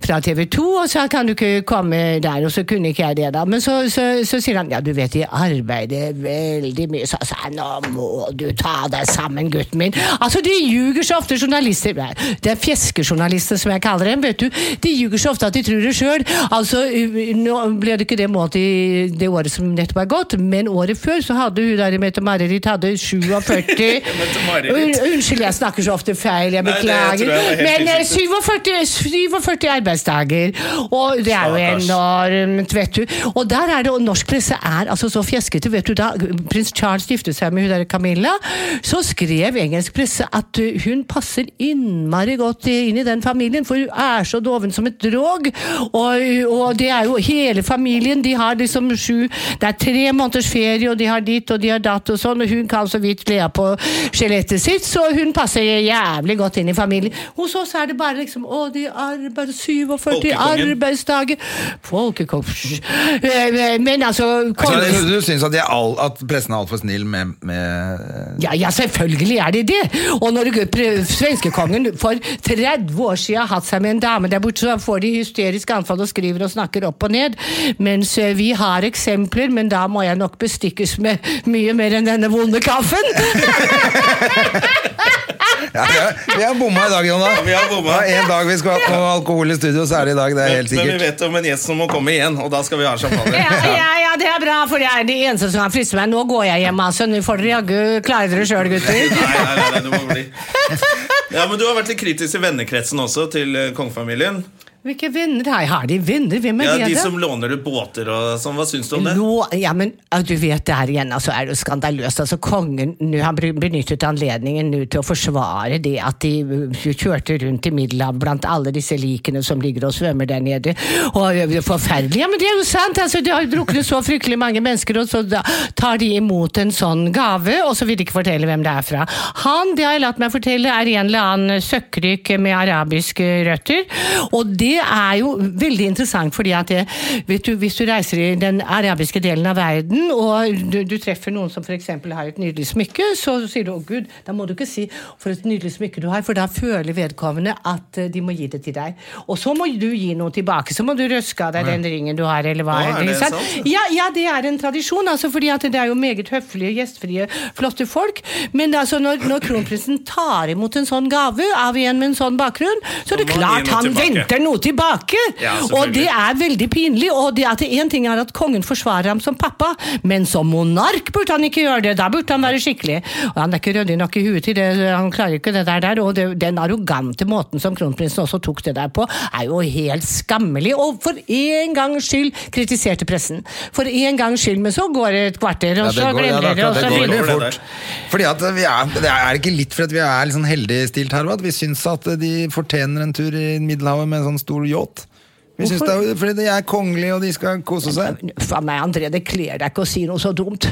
Speaker 3: fra TV 2 og sa kan du ikke komme der, og så kunne ikke jeg det, da. Men så, så, så sier han ja, du vet de arbeider veldig mye, så sa jeg nå må du ta deg sammen, gutten min. Altså de ljuger så ofte, journalister. Nei, Det er fjeskejournalister som jeg kaller dem, vet du. De ljuger så ofte at de tror det sjøl. Altså, u- nå ble det ikke det målt i det året som nettopp er gått, men året før så hadde hun der i Mette-Marit hadde 47
Speaker 1: Mette-Marit.
Speaker 3: Un, Unnskyld, jeg snakker så ofte feil, jeg
Speaker 1: Nei, det tror jeg
Speaker 3: beklager.
Speaker 1: var helt
Speaker 3: men eh,
Speaker 1: riktig.
Speaker 3: 47, 47 arbeidsdager, og det er jo enormt, mm, vet du. Og der er det, og norsk presse er altså så fjeskete, vet du. Da prins Charles giftet seg med hun der Camilla, så skrev engelsk presse at uh, hun passer innmari godt i- inn i den familien, for hun er så doven som et drog. Og, og det er jo hele familien, de har liksom sju Det er tre måneders ferie, og de har ditt og de har datt og sånn, og hun kan så vidt le på skjelettet sitt, så hun passer jævlig godt inn i familien. Hos oss er det bare liksom Å, de arbeider 47
Speaker 1: Folkekongen.
Speaker 3: arbeidsdager Folkekong psj. Eh, eh, Men altså kongen-
Speaker 2: Du, du syns at, de er all, at pressen er altfor snill med, med
Speaker 3: ja, ja, selvfølgelig er det det! Og når pre- svenskekongen for 30 år siden har hatt seg med en dame der borte, så får de hysterisk anfall og skriver og snakker opp og ned. Mens eh, vi har eksempler, men da må jeg nok bestikkes med mye mer enn denne vonde kaffen.
Speaker 2: Ja, vi har- vi har bomma i dag, Jonna.
Speaker 1: vi har bomma.
Speaker 2: Det er En dag vi skulle hatt noe alkohol i studio, så er det i dag. Det er helt
Speaker 1: Men vi
Speaker 2: sikkert.
Speaker 1: vet om en gjest som må komme igjen, og da skal vi ha champagne.
Speaker 3: Ja, ja, ja, det er bra, for jeg er de eneste som har fristet meg. Nå går jeg hjem, altså. Nå får dere jaggu klare dere sjøl, gutter.
Speaker 1: Nei, nei, nei, nei, du må bli. Ja, men Du har vært litt kritisk i vennekretsen også, til eh, kongefamilien.
Speaker 3: Hvilke venner har jeg? Har de venner? Hvem er
Speaker 1: Ja,
Speaker 3: det?
Speaker 1: De
Speaker 3: da?
Speaker 1: som låner du båter og sånn. Hva syns du om det?
Speaker 3: Nå, ja, men ja, du vet det her igjen, altså er det jo skandaløst. Altså kongen, nå, han bry- benyttet anledningen nå til å forsvare det at de uh, kjørte rundt i Middelhavet blant alle disse likene som ligger og svømmer der nede. Og ø, det er forferdelig, ja men det er jo sant, altså det har druknet så fryktelig mange mennesker, og så da tar de imot en sånn gave, og så vil de ikke fortelle hvem det er fra. Han, det har jeg latt meg fortelle, er en eller annen søkkryk med arabiske røtter, og det er jo veldig interessant, fordi at det, vet du, hvis du reiser i den arabiske delen av verden, og du, du treffer noen som f.eks. har et nydelig smykke, så sier du 'Å, Gud', da må du ikke si 'for et nydelig smykke du har', for da føler vedkommende at eh, de må gi det til deg. Og så må du gi noe tilbake. Så må du røske av deg den ringen du har, eller hva
Speaker 1: Å, er
Speaker 3: det
Speaker 1: det
Speaker 3: ikke sant?
Speaker 1: sant?
Speaker 3: Ja, ja, det er en tradisjon, altså, fordi at det er jo meget høflige, gjestfrie, flotte folk. Men altså, når, når kronprinsen tar imot en sånn gave av en med en sånn bakgrunn, så er det
Speaker 1: må han gi
Speaker 3: klart
Speaker 1: noe
Speaker 3: han
Speaker 1: tilbake.
Speaker 3: venter noe tilbake!
Speaker 1: Ja, selvfølgelig.
Speaker 3: og det er veldig pinlig. Og det at én ting er at kongen forsvarer ham som pappa, men som monark burde han ikke gjøre det. Da burde han være skikkelig. Og han er ikke ryddig nok i huet til det, han klarer ikke det der. der og det, den arrogante måten som kronprinsen også tok det der på, er jo helt skammelig. Og for en gangs skyld kritiserte pressen. For en gangs skyld, men så går det et kvarter, og
Speaker 2: Ja,
Speaker 3: så
Speaker 2: går- ja,
Speaker 3: glemmer
Speaker 2: det er
Speaker 3: det,
Speaker 2: akkurat-
Speaker 3: og så
Speaker 2: det går
Speaker 1: begynner-
Speaker 3: begynner
Speaker 2: veldig fort. Fordi at vi er, det er ikke litt for at vi er litt sånn heldig stilt her, hva? at vi syns at de fortjener en tur i Middelhavet med en sånn stor yacht. Vi syns det er, fordi de er kongelige, og de skal kose seg.
Speaker 3: Faen meg, André, det kler deg ikke å si noe så dumt.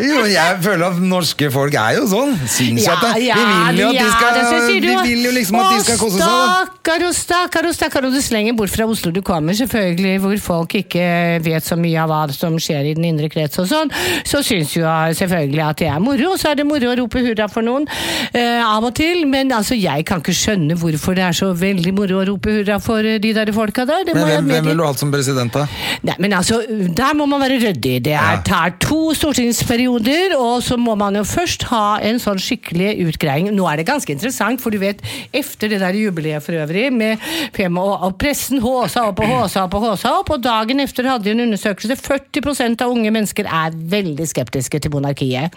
Speaker 2: Jo, jeg føler at norske folk er jo sånn. Syns
Speaker 3: Ja,
Speaker 2: at det.
Speaker 3: ja,
Speaker 2: Vi vil jo at de
Speaker 3: ja,
Speaker 2: skal,
Speaker 3: det synes jeg
Speaker 2: vi
Speaker 3: du-
Speaker 2: vil jo liksom at de skal kose seg.
Speaker 3: Å,
Speaker 2: Da.
Speaker 3: stakkar og stakkar og stakkar, og du slenger bort fra Oslo du kommer, selvfølgelig, hvor folk ikke vet så mye av hva som skjer i den indre krets og sånn, så syns jo jeg selvfølgelig at det er moro, og så er det moro å rope hurra for noen eh, av og til, men altså, jeg kan ikke skjønne hvorfor det er så veldig moro å rope hurra for eh, de der folka der. Det
Speaker 2: Men
Speaker 3: må jeg
Speaker 2: hvem, hvem
Speaker 3: medgi.
Speaker 2: ville du hatt som president, da?
Speaker 3: Nei, men altså, Der må man være ryddig. Det er, tar to stortingsperioder, og så må man jo først ha en sånn skikkelig utgreiing. Nå er det ganske interessant, for du vet, etter det der jubileet for øvrig, med fem, og, og pressen håsa opp og håsa opp og håsa opp, og dagen efter hadde de en undersøkelse 40 av unge mennesker er veldig skeptiske til monarkiet.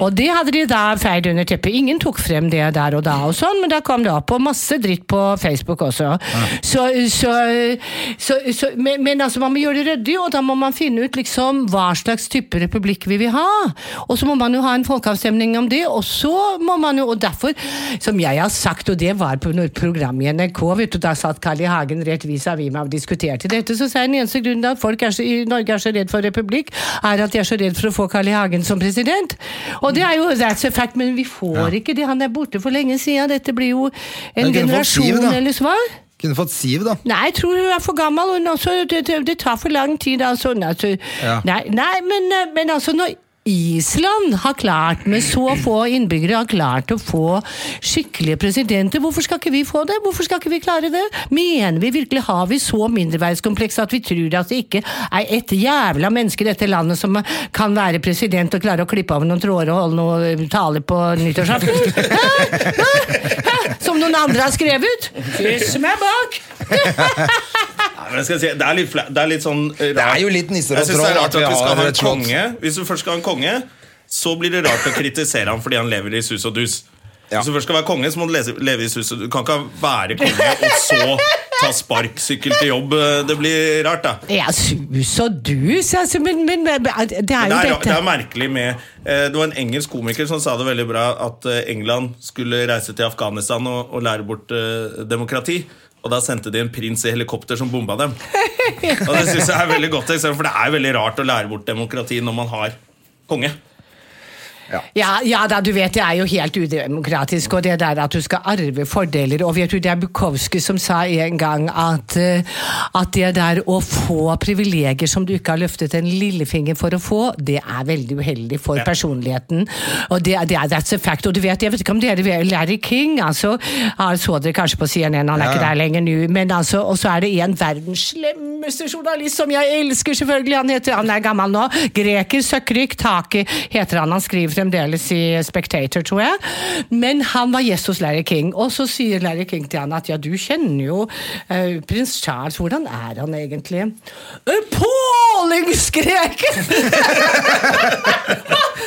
Speaker 3: Og det hadde de da feid under teppet. Ingen tok frem det der og da, og sånn, men da kom det opp, og masse dritt på Facebook også. Så, så, så, så, men, men altså, man må gjøre det ryddig, og da må man finne ut liksom hva slags type republikk vi vil ha. Og så må man jo ha en folkeavstemning om det, og så må man jo Og derfor, som jeg har sagt, og det var på noe program i NRK, vet du, da satt Carl I. Hagen rett vis-à-vis meg og diskuterte dette, så sa jeg den eneste grunnen til at folk er så, i Norge er så redd for republikk, er at de er så redd for å få Carl I. Hagen som president. Og det er jo that's a fact, men vi får ikke det. Han er borte for lenge siden. Dette blir jo en
Speaker 2: Men kunne fått Siv,
Speaker 3: generasjon
Speaker 2: da.
Speaker 3: eller svar.
Speaker 2: Kunne fått Siv, da.
Speaker 3: Nei, jeg tror hun er for gammel. Hun også, det, det, det tar for lang tid. Altså. Nei, Altså,
Speaker 2: Ja.
Speaker 3: nei, nei men, eh, men altså når Island har klart, med så få innbyggere, har klart å få skikkelige presidenter. Hvorfor skal ikke vi få det? Hvorfor skal ikke vi klare det? Mener vi virkelig har vi så mindreverdskompleks at vi tror at det ikke er et jævla menneske i dette landet som kan være president og klare å klippe av noen tråder og holde noen taler på nyttårsaften? Hæ? Hæ? Hæ? Som noen andre har skrevet? Kyss meg bak!
Speaker 1: Nei, men jeg skal si, det, er litt fla- det er litt sånn eh, rart.
Speaker 2: Det er jo litt nisser og
Speaker 1: Jeg synes det er
Speaker 2: troll
Speaker 1: rart
Speaker 2: at
Speaker 1: at
Speaker 2: vi
Speaker 1: vi
Speaker 2: har
Speaker 1: skal ha
Speaker 2: et
Speaker 1: en
Speaker 2: slott.
Speaker 1: konge. Hvis du først skal ha en konge, så blir det rart å kritisere ham fordi han lever i sus og dus.
Speaker 2: Ja.
Speaker 1: Hvis du først skal være konge, så må du lese, leve i sus og dus. Du kan ikke være konge og så ta sparksykkel til jobb. Det blir rart, da.
Speaker 3: Ja, sus og dus, altså, men, men det er jo
Speaker 1: Det er,
Speaker 3: dette
Speaker 1: det er merkelig med eh, Det var en engelsk komiker som sa det veldig bra at eh, England skulle reise til Afghanistan og, og lære bort eh, demokrati. Og da sendte de en prins i helikopter som bomba dem. Og det synes jeg er et veldig godt eksempel, for det er veldig rart å lære bort demokrati når man har konge.
Speaker 3: Ja, ja da, du vet det er jo helt udemokratisk, og det der at du skal arve fordeler Og vet du, det er Bukowski som sa en gang at, eh, at det der å få privilegier som du ikke har løftet en lillefinger for å få, det er veldig uheldig for personligheten. Og det, er- det er that's a fact. Og du vet, jeg vet ikke om dere vet Larry King, altså han Så dere kanskje på CNN, han
Speaker 2: Ja.
Speaker 3: er ikke der lenger nå, men altså Og så er det en verdens slemmeste journalist som jeg elsker, selvfølgelig, han heter Han er gammel nå. Greker Søkkrik Taki heter han. Han skriver fremdeles i Spectator, tror jeg. Men han var gjest hos Larry King, og så sier Larry King til han at ja, du kjenner jo eh, prins Charles, hvordan er han egentlig? Eh, «En Pålingsgreken!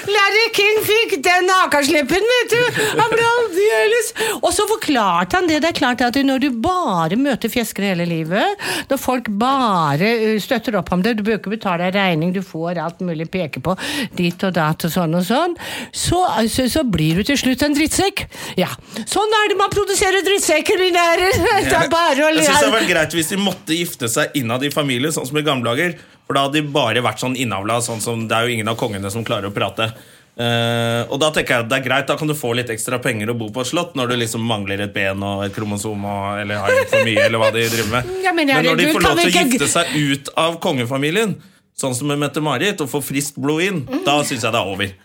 Speaker 3: Larry King fikk den akaslippen, vet du! Han ble aldeles Og så forklarte han det. Det er klart at når du bare møter fjeskere hele livet, når folk bare eh, støtter opp om det, du bør ikke betale en regning, du får alt mulig peke på dit og datt og sånn og sånn, så, så, så blir du til slutt en drittsekk. Ja. Sånn er det man produserer drittsekker, mine herrer! Det er bare å
Speaker 1: Jeg
Speaker 3: le.
Speaker 1: synes det hadde vært greit hvis de måtte gifte seg innad i familien, sånn som i gamle dager. For da hadde de bare vært sånn innavla, sånn som det er jo ingen av kongene som klarer å prate. Eh, og da tenker jeg at det er greit, da kan du få litt ekstra penger og bo på et slott når du liksom mangler et ben og et kromosom og, eller har litt for mye, eller hva de driver med.
Speaker 3: Ja, men
Speaker 1: men når de
Speaker 3: herregud,
Speaker 1: får
Speaker 3: kan
Speaker 1: lov til
Speaker 3: vi
Speaker 1: å
Speaker 3: ikke-
Speaker 1: gifte seg ut av kongefamilien, sånn som med Mette-Marit, og få friskt blod inn, da syns jeg det er over.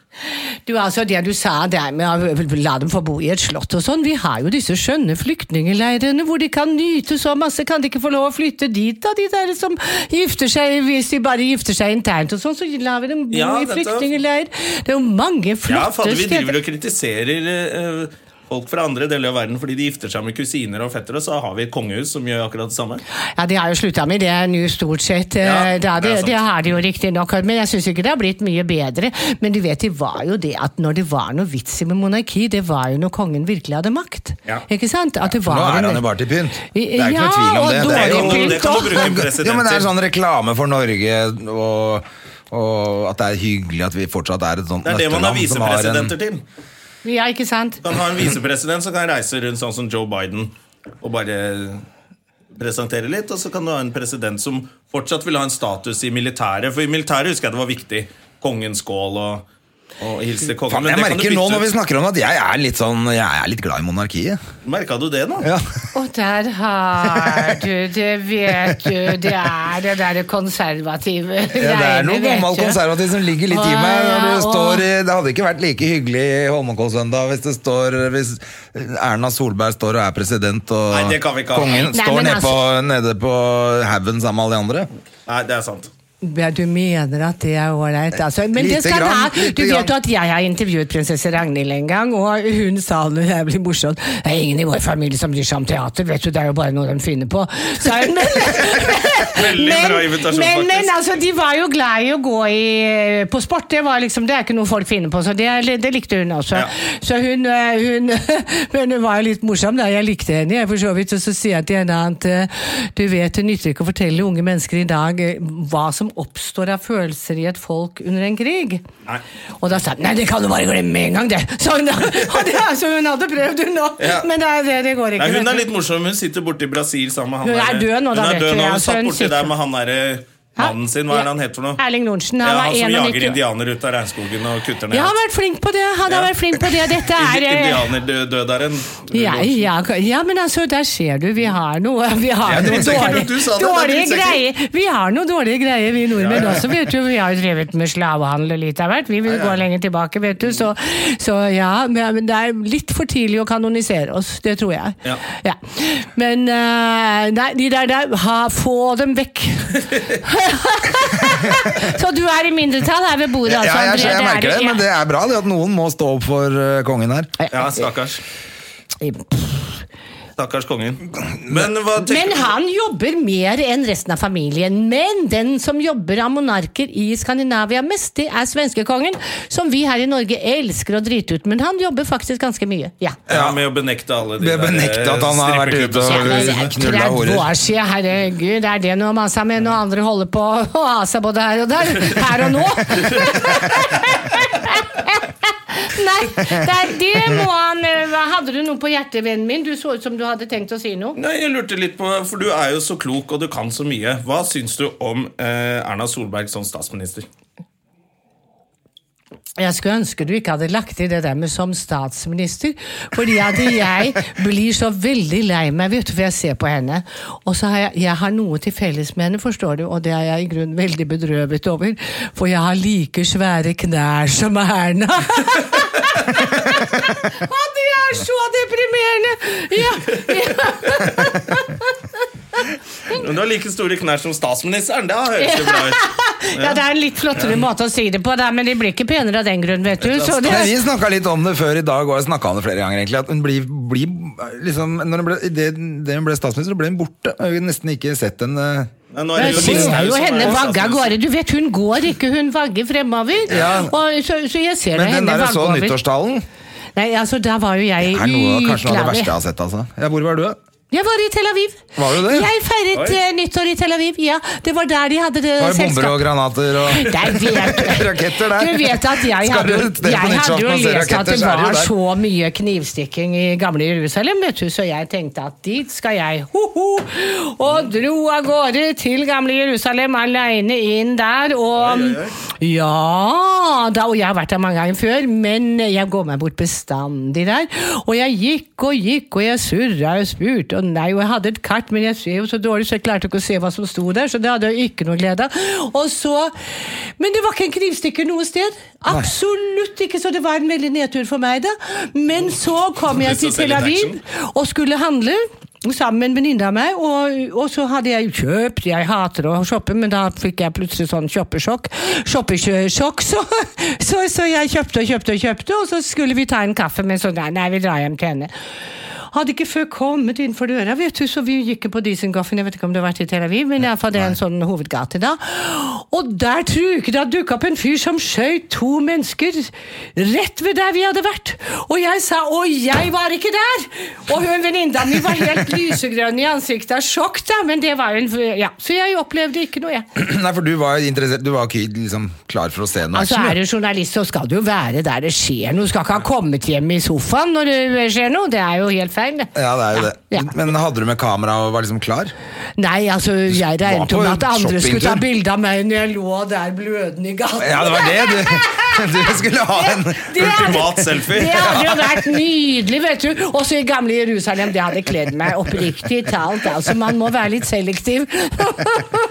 Speaker 3: Du, altså Det du sa der med å la dem få bo i et slott og sånn, vi har jo disse skjønne flyktningeleirene hvor de kan nyte så masse. Kan de ikke få lov å flytte dit, da, de der som gifter seg Hvis de bare gifter seg internt og sånn, så lar vi dem bo
Speaker 1: Ja,
Speaker 3: i
Speaker 1: dette-
Speaker 3: flyktningeleir. Det er jo mange
Speaker 1: Ja,
Speaker 3: flotte
Speaker 1: fader, vi driver
Speaker 3: steder.
Speaker 1: og kritiserer eh, folk fra andre deler av verden fordi de gifter seg med kusiner og fettere, så har vi et kongehus som gjør akkurat det samme.
Speaker 3: Ja, de har jo slutta med det nå, stort sett.
Speaker 1: Ja,
Speaker 3: eh, da,
Speaker 1: det er
Speaker 3: det,
Speaker 1: sant.
Speaker 3: det har de jo riktignok, men jeg syns ikke det har blitt mye bedre. Men du vet, det var jo det at når det var noe vits i med monarki, det var jo når kongen virkelig hadde makt.
Speaker 1: Ja.
Speaker 3: Ikke sant? At det
Speaker 2: Nå
Speaker 3: var
Speaker 2: er
Speaker 3: en-
Speaker 2: han jo bare til pynt. Det er ikke
Speaker 3: Ja,
Speaker 2: noe tvil om
Speaker 3: og
Speaker 2: det. Det er jo
Speaker 3: dårlig pynt.
Speaker 1: det kan du bruke president
Speaker 2: Jo, men det er
Speaker 1: til.
Speaker 2: sånn reklame for Norge og, og at det er hyggelig at vi fortsatt er et sånt
Speaker 1: Det er det man har
Speaker 2: nøkkelland som har en-
Speaker 1: visepresidenter til.
Speaker 3: Ja, ikke sant?
Speaker 1: Kan ha en visepresident som kan reise rundt sånn som Joe Biden og bare presentere litt, og så kan du ha en president som fortsatt vil ha en status i militæret, for i militæret husker jeg det var viktig. Kongens skål og, og hilse kongen.
Speaker 2: Faen,
Speaker 1: men
Speaker 2: jeg
Speaker 1: det kan du
Speaker 2: merker nå
Speaker 1: bytte
Speaker 2: når vi
Speaker 1: ut.
Speaker 2: snakker om at jeg er litt sånn Jeg er litt glad i monarkiet.
Speaker 1: Merka du det nå?
Speaker 2: Ja.
Speaker 3: Og der har du det, vet du. Det er det derre konservative
Speaker 2: Ja, det er noe
Speaker 3: greiene, vet
Speaker 2: gammel
Speaker 3: du.
Speaker 2: konservativ som ligger litt i
Speaker 3: Å,
Speaker 2: meg. Når
Speaker 3: ja,
Speaker 2: det,
Speaker 3: og-
Speaker 2: står, i- det hadde ikke vært like hyggelig i Holmenkollsøndag hvis det står Hvis Erna Solberg står og er president, og
Speaker 1: Nei, det kan vi ikke ha.
Speaker 2: kongen
Speaker 1: Nei,
Speaker 2: står
Speaker 3: men altså-
Speaker 2: nede på, nede på haugen sammen med alle de andre.
Speaker 1: Nei, det er sant.
Speaker 3: Ja, du mener at det er ålreit, altså. Men
Speaker 2: Lite
Speaker 3: det skal
Speaker 2: grann,
Speaker 3: da-
Speaker 2: lite
Speaker 3: Du
Speaker 2: grann.
Speaker 3: vet jo at jeg har intervjuet prinsesse Ragnhild en gang, og hun sa noe jævlig morsomt. Det er ingen i vår familie som bryr seg om teater, vet du, det er jo bare noe de finner på. Sa hun. Men,
Speaker 1: Veldig bra invitasjon,
Speaker 3: men, men
Speaker 1: faktisk.
Speaker 3: altså, de var jo glad i å gå i, på sport, det var liksom, det er ikke noe folk finner på, så det, det likte hun også.
Speaker 1: Ja.
Speaker 3: Så hun, eh, hun Men hun var jo litt morsom, da. Jeg likte henne, jeg, for så vidt. Og så sier jeg til henne at eh, du vet, det nytter ikke å fortelle unge mennesker i dag eh, hva som oppstår av følelser i et folk under en krig.
Speaker 1: Nei.
Speaker 3: Og da sa hun nei, det kan du bare glemme med en gang, det. Så hun, og det, er- så hun hadde prøvd, hun òg.
Speaker 1: Ja.
Speaker 3: Men det, er- det, det går ikke.
Speaker 1: Nei,
Speaker 3: vet
Speaker 1: hun
Speaker 3: du.
Speaker 1: er litt morsom. Hun sitter borte i Brasil sammen med han
Speaker 3: Hun er
Speaker 1: der-
Speaker 3: død nå, da
Speaker 1: Hun
Speaker 3: vet
Speaker 1: er død
Speaker 3: du,
Speaker 1: nå.
Speaker 3: ja,
Speaker 1: Hun
Speaker 3: så
Speaker 1: satt
Speaker 3: hun
Speaker 1: borti
Speaker 3: sitter-
Speaker 1: der med han derre mannen sin. Hva er det han heter for noe?
Speaker 3: Erling Lorensen. Han
Speaker 1: ja,
Speaker 3: var
Speaker 1: han som
Speaker 3: 91.
Speaker 1: jager indianere ut av regnskogen og kutter ned
Speaker 3: Ja, han har vært flink på det. Han har
Speaker 1: Ja.
Speaker 3: vært flink på det. Dette er eh,
Speaker 1: Indianerdødaren.
Speaker 3: Ja, ja, ka- ja, men altså, der ser du, vi har noe, vi
Speaker 2: Jeg
Speaker 3: har
Speaker 2: er
Speaker 3: noe
Speaker 2: drittsikker,
Speaker 3: dårlig,
Speaker 1: du sa det, det er
Speaker 3: dårlige
Speaker 1: drittsikker.
Speaker 3: greier. Vi har noe dårlige greier, vi nordmenn
Speaker 1: Ja, ja.
Speaker 3: også, vet du. Vi har jo drevet med slavehandel og litt av hvert. Vi vil gå lenger tilbake, vet du. Så, så ja, men, men det er litt for tidlig å kanonisere oss, det tror jeg.
Speaker 1: Ja.
Speaker 3: Men eh, nei, de der, der ha, få dem vekk. så du er i mindretall her ved bordet,
Speaker 2: Ja,
Speaker 3: altså,
Speaker 2: jeg, jeg,
Speaker 3: André, er
Speaker 2: merker
Speaker 3: du-
Speaker 2: det, men det er bra det at noen må stå opp for eh, kongen her.
Speaker 1: Ja, stakkars.
Speaker 3: Ja.
Speaker 1: Stakkars kongen. Men hva
Speaker 3: Men
Speaker 1: tenker du?
Speaker 3: han jobber mer enn resten av familien. Men den som jobber av monarker i Skandinavia mest, det er svenskekongen, som vi her i Norge elsker å drite ut. Men han jobber faktisk ganske mye. Ja.
Speaker 1: Ja, med å benekte alle de eh,
Speaker 2: Ved å benekte at han har vært ute og-
Speaker 3: Ja, men det er
Speaker 2: Knulla
Speaker 3: 30
Speaker 2: horer.
Speaker 3: år siden, herregud. Er det noe å mase med når andre holder på å ha seg både her og der? Her og nå? Nei, det, er- det må han eh, Hadde du noe på hjertet, vennen min? Du så ut som du hadde tenkt å si noe.
Speaker 1: Nei, jeg lurte litt på, for Du er jo så klok og du kan så mye. Hva syns du om eh, Erna Solberg som statsminister?
Speaker 3: Jeg skulle ønske du ikke hadde lagt til det der med som statsminister, fordi at jeg blir så veldig lei meg, vet du, for jeg ser på henne. Og så har jeg, jeg har noe til felles med henne, forstår du, og det er jeg i grunnen veldig bedrøvet over, for jeg har like svære knær som Erna. og det er så deprimerende! Ja,
Speaker 1: Men du har like store knær som statsministeren. Det høres jo bra ut.
Speaker 3: ja, det er en litt flottere måte å si det på, da, men de blir ikke penere av den grunn, vet du. Så det
Speaker 2: Men vi snakka litt om det før i dag, og jeg snakka om det flere ganger. egentlig At hun blir, blir liksom når hun ble, det, det hun ble statsminister, så ble hun borte. Jeg har nesten ikke sett henne
Speaker 1: Nei, nå er
Speaker 3: Jeg
Speaker 1: det jo
Speaker 3: ser
Speaker 1: Listhaug
Speaker 3: jo
Speaker 1: som
Speaker 3: henne
Speaker 1: er
Speaker 3: vagge av
Speaker 1: statsminister.
Speaker 3: gårde. Du vet, hun går ikke, hun vagger fremover.
Speaker 2: Ja.
Speaker 3: Og, så, så jeg ser da
Speaker 2: Men den
Speaker 3: henne
Speaker 2: der jeg
Speaker 3: vagge
Speaker 2: så
Speaker 3: over.
Speaker 2: nyttårstalen,
Speaker 3: Nei, altså, der var jo jeg i
Speaker 2: er noe av kanskje noe av det verste jeg
Speaker 3: utlandet.
Speaker 2: har sett. altså ja, Hvor var du? da?
Speaker 3: Jeg var i Tel Aviv.
Speaker 2: Var du det?
Speaker 3: Jeg feiret
Speaker 1: Oi.
Speaker 3: eh, nyttår i Tel Aviv, ja. Det var der de hadde det
Speaker 2: Var det bomber og
Speaker 3: selskapet.
Speaker 2: granater og
Speaker 3: Der vet du.
Speaker 2: raketter der?
Speaker 3: Du vet at jeg
Speaker 2: Skal
Speaker 3: hadde,
Speaker 2: du
Speaker 3: jo-
Speaker 2: ut der på
Speaker 3: jeg hadde jo
Speaker 2: nyttårsaften og se
Speaker 3: lest at
Speaker 2: raketter,
Speaker 3: det
Speaker 2: så er det jo
Speaker 3: var
Speaker 2: der.
Speaker 3: så mye knivstikking i gamle Jerusalem, vet du, så jeg tenkte at dit skal jeg, ho-ho, og dro av gårde til gamle Jerusalem aleine inn der, og
Speaker 1: Oi, oi, oi.
Speaker 3: ja da, og jeg har vært der mange ganger før, men jeg går meg bort bestandig der. Og jeg gikk og gikk, og jeg surra og spurte, og nei, og jeg hadde et kart, men jeg ser jo så dårlig, så jeg klarte ikke å se hva som sto der, så det hadde jeg ikke noe glede av. Og så Men det var ikke en knivstikker noe sted. Absolutt ikke, så det var en veldig nedtur for meg, da. Men så kom jeg
Speaker 1: Lyst til
Speaker 3: til
Speaker 1: å se
Speaker 3: Tel
Speaker 1: litt
Speaker 3: Aviv
Speaker 1: action.
Speaker 3: og skulle handle sammen med en venninne av meg, og, og så hadde jeg kjøpt Jeg hater å shoppe, men da fikk jeg plutselig sånn shoppesjokk. Shoppesjokk, så, så, så jeg kjøpte og kjøpte og kjøpte, og så skulle vi ta en kaffe, men så nei, nei vi drar hjem til henne. Hadde ikke før kommet innenfor døra, vet du, så vi gikk på Diesengaffen. Jeg vet ikke om du har vært i Tel Aviv, men iallfall det er en sånn hovedgate da. Og der truket det dukka opp en fyr som skjøt to mennesker rett ved der vi hadde vært. Og jeg sa 'Å, jeg var ikke der'! Og hun venninna mi var helt lysegrønn i ansiktet av sjokk, da, men det var jo en Ja, så jeg opplevde ikke noe, jeg.
Speaker 2: Nei, for du var interessert Du var ikke liksom klar for å se noe
Speaker 3: Altså
Speaker 2: action,
Speaker 3: Er du journalist, så skal du jo være der det skjer noe. Du skal ikke ha kommet hjem i sofaen når det skjer noe. Det er jo helt feil, det.
Speaker 2: du. Ja, det er jo det.
Speaker 3: Ja.
Speaker 2: Men hadde du med kamera og var liksom klar?
Speaker 3: Nei, altså, jeg regnet
Speaker 2: var på
Speaker 3: med at andre
Speaker 2: shoppingtur.
Speaker 3: skulle ta bilde av meg når jeg lå der blødende i gaten.
Speaker 2: Ja, det var det! Du, du skulle ha en
Speaker 3: Det hadde-
Speaker 1: Ultimat selfie.
Speaker 3: Det hadde jo vært nydelig, vet du. Også i gamle Jerusalem. Det hadde kledd meg oppriktig talt. Altså, man må være litt selektiv.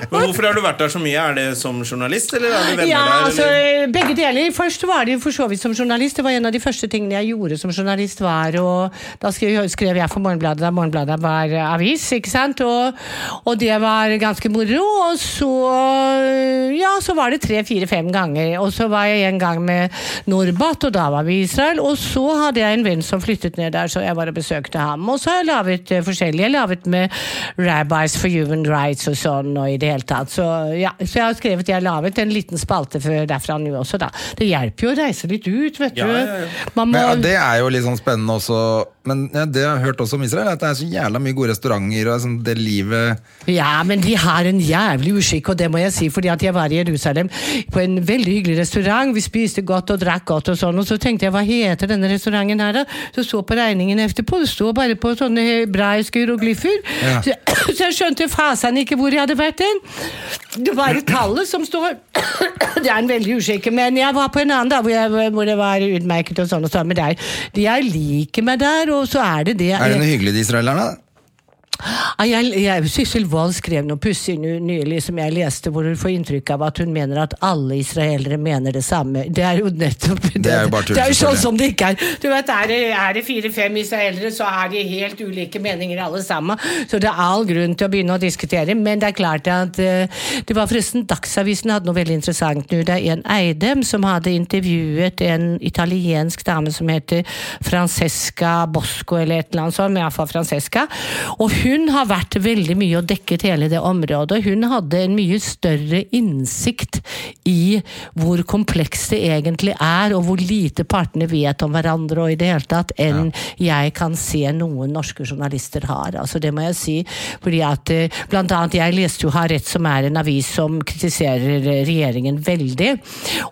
Speaker 1: Men hvorfor har du vært der så mye? Er det som journalist, eller er det venner
Speaker 3: Ja,
Speaker 1: der?
Speaker 3: altså,
Speaker 1: eller?
Speaker 3: begge deler. Først var det jo for så vidt som journalist. Det var en av de første tingene jeg gjorde som journalist. var, og Da skrev, skrev jeg for Morgenbladet da Morgenbladet var eh, avis, ikke sant? Og, og det var ganske moro. Og så ja, så var det tre-fire-fem ganger. Og så var jeg en gang med Norbat, og da var vi i Israel. Og så hadde jeg en venn som flyttet ned der, så jeg bare besøkte ham. Og så har jeg laget eh, forskjellige. Jeg har laget med Rabbis for Human Rights og sånn, og i det hele tatt. Så, ja, så jeg har skrevet, jeg har laget en liten spalte for derfra nå også, da. Det hjelper jo å reise litt ut, vet
Speaker 1: Ja,
Speaker 3: du.
Speaker 1: ja, ja.
Speaker 3: Man må
Speaker 2: Men, ja, det er jo litt sånn spennende også. Men ja, det jeg har hørt også om Israel, er at det er så jævla mye gode restauranter og sånn det livet
Speaker 3: Ja, men de har en jævlig uskikk, og det må jeg si, fordi at jeg var i Jerusalem på en veldig hyggelig restaurant. Vi spiste godt og drakk godt og sånn, og så tenkte jeg hva heter denne restauranten her, da? Så så på regningen etterpå, det står bare på sånne hebraiske hieroglyfer.
Speaker 2: Ja.
Speaker 3: Så, så jeg skjønte fasen ikke hvor jeg hadde vært hen. Det var et tallet som står Det er en veldig uskikk, men jeg var på en annen da, hvor, jeg, hvor det var utmerket og sånn og sånn, men der, jeg liker meg der, og så er det det.
Speaker 2: Er det noe hyggelig de israelerne? da?
Speaker 3: Ja, Jeg, jeg, Sissel Wold skrev noe pussig nu- nylig som jeg leste, hvor hun får inntrykk av at hun mener at alle israelere mener det samme. Det er jo nettopp det.
Speaker 2: er jo bare tull,
Speaker 3: det er jo sånn
Speaker 2: selvfølgelig.
Speaker 3: som det ikke er. Du vet, Er det, er det fire-fem israelere, så er de helt ulike meninger alle sammen. Så det er all grunn til å begynne å diskutere. Men det er klart at eh, det var forresten Dagsavisen hadde noe veldig interessant nå. Det er en Eidem som hadde intervjuet en italiensk dame som heter Francesca Bosco, eller et eller annet sånt, men iallfall Francesca. Og hun har vært veldig mye og dekket hele det området. Hun hadde en mye større innsikt i hvor komplekst det egentlig er, og hvor lite partene vet om hverandre og i det hele tatt, enn jeg kan se noen norske journalister har. Altså, det må jeg si. Fordi at eh, blant annet, jeg leste jo Harett, som er en avis som kritiserer eh, regjeringen veldig.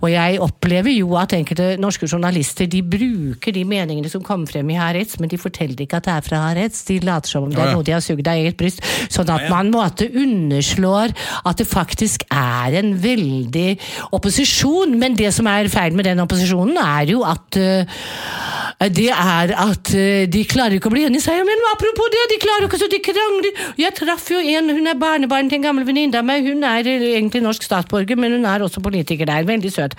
Speaker 3: Og jeg opplever jo at enkelte norske journalister de bruker de meningene som kommer frem i Harets, men de forteller ikke at det er fra Harets. De later som om det
Speaker 2: Ja,
Speaker 3: er
Speaker 2: ja.
Speaker 3: noe de har sugd av eget bryst. Sånn at
Speaker 1: Ja, ja.
Speaker 3: man måte underslår at det faktisk er en veldig opposisjon. Men det som er feil med den opposisjonen, er jo at eh, det er at eh, de klarer ikke å bli enige, sier jeg. Men apropos det, de klarer ikke, så de krangler. Jeg traff jo en, hun er barnebarn til en gammel venninne av meg. Hun er eh, egentlig norsk statsborger, men hun er også politiker der. Veldig søt.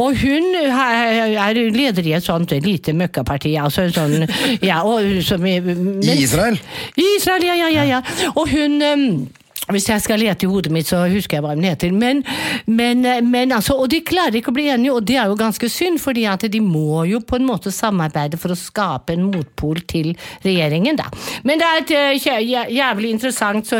Speaker 3: Og hun er er leder i et sånt lite møkkaparti, altså en sånn Ja, og som i
Speaker 2: I Israel?
Speaker 3: I Israel, ja, ja, ja. ja. Og hun ehm, hvis jeg skal lete i hodet mitt, så husker jeg hva hun heter. Men, men, men altså, Og de klarer ikke å bli enige, og det er jo ganske synd, fordi at de må jo på en måte samarbeide for å skape en motpol til regjeringen, da. Men det er et eh, jæ- jæ- jævlig interessant, så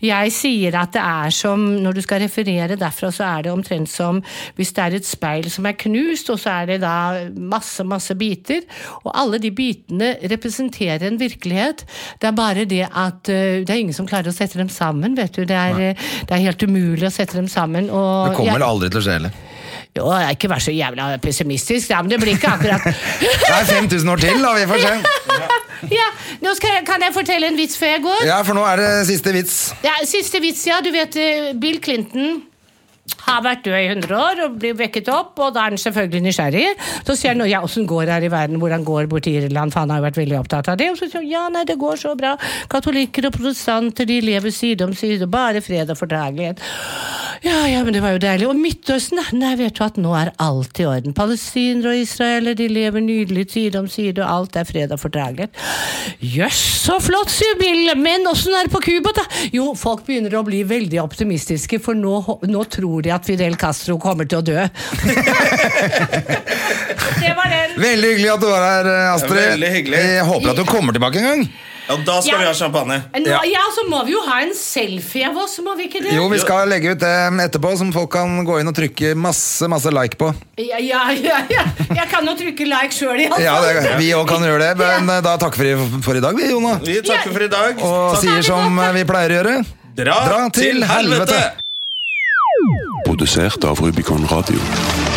Speaker 3: jeg sier at det er som Når du skal referere derfra, så er det omtrent som hvis det er et speil som er knust, og så er det da masse, masse biter, og alle de bitene representerer en virkelighet. Det er bare det at eh, det er ingen som klarer å sette dem sammen, vet du. Det er, eh, det er helt umulig å sette dem sammen. Og
Speaker 2: Det kommer
Speaker 3: jeg,
Speaker 2: vel aldri til å skje heller.
Speaker 3: jo, jeg ikke vær så jævla pessimistisk, da, men det blir ikke akkurat
Speaker 2: Det er 5000 år til, da. Vi får se.
Speaker 3: Ja, nå skal, jeg- kan jeg fortelle en vits før jeg går?
Speaker 2: Ja, for nå er det siste vits.
Speaker 3: Ja, siste vits, ja. Du vet eh, Bill Clinton har vært død i 100 år og blir vekket opp, og da er han selvfølgelig nysgjerrig. Så sier han ja, åssen går det her i verden, hvordan går det borti Irland, for han har jo vært veldig opptatt av det. Og så sier han ja, nei, det går så bra. Katolikker og protestanter, de lever side om side, og bare fred og fordragelighet. Ja, ja, men det var jo deilig. Og Midtøsten, da? nei, vet du at nå er alt i orden. Palestinere og israelere, de lever nydelig side om side, og alt er fred og fordragelighet. Jøss, så flott, sier Bill, men åssen er det på Cuba, da? Jo, folk begynner å bli veldig optimistiske, for nå, nå tror de at Fidel Castro kommer til å dø. det var den.
Speaker 2: Veldig hyggelig at du var her, eh, Astrid.
Speaker 1: Veldig hyggelig.
Speaker 2: Jeg håper at du kommer tilbake en gang.
Speaker 1: Ja, da skal
Speaker 3: Ja.
Speaker 1: vi ha champagne.
Speaker 3: Nå,
Speaker 2: Ja.
Speaker 3: ja, så må vi jo ha en selfie av oss, må vi ikke det?
Speaker 2: Jo, vi skal legge ut det etterpå, som folk kan gå inn og trykke masse, masse like på.
Speaker 3: Ja, ja, ja, ja. Jeg kan jo trykke like sjøl, iallfall.
Speaker 2: Ja, det, Vi òg kan gjøre det, men eh, da takker vi for- for i dag, vi, Jona.
Speaker 1: Vi takker
Speaker 3: Ja.
Speaker 1: for i dag.
Speaker 2: Og
Speaker 1: Takk.
Speaker 2: sier som eh, vi pleier å gjøre
Speaker 1: Dra, til helvete.
Speaker 4: produsert av Rubicon Radio.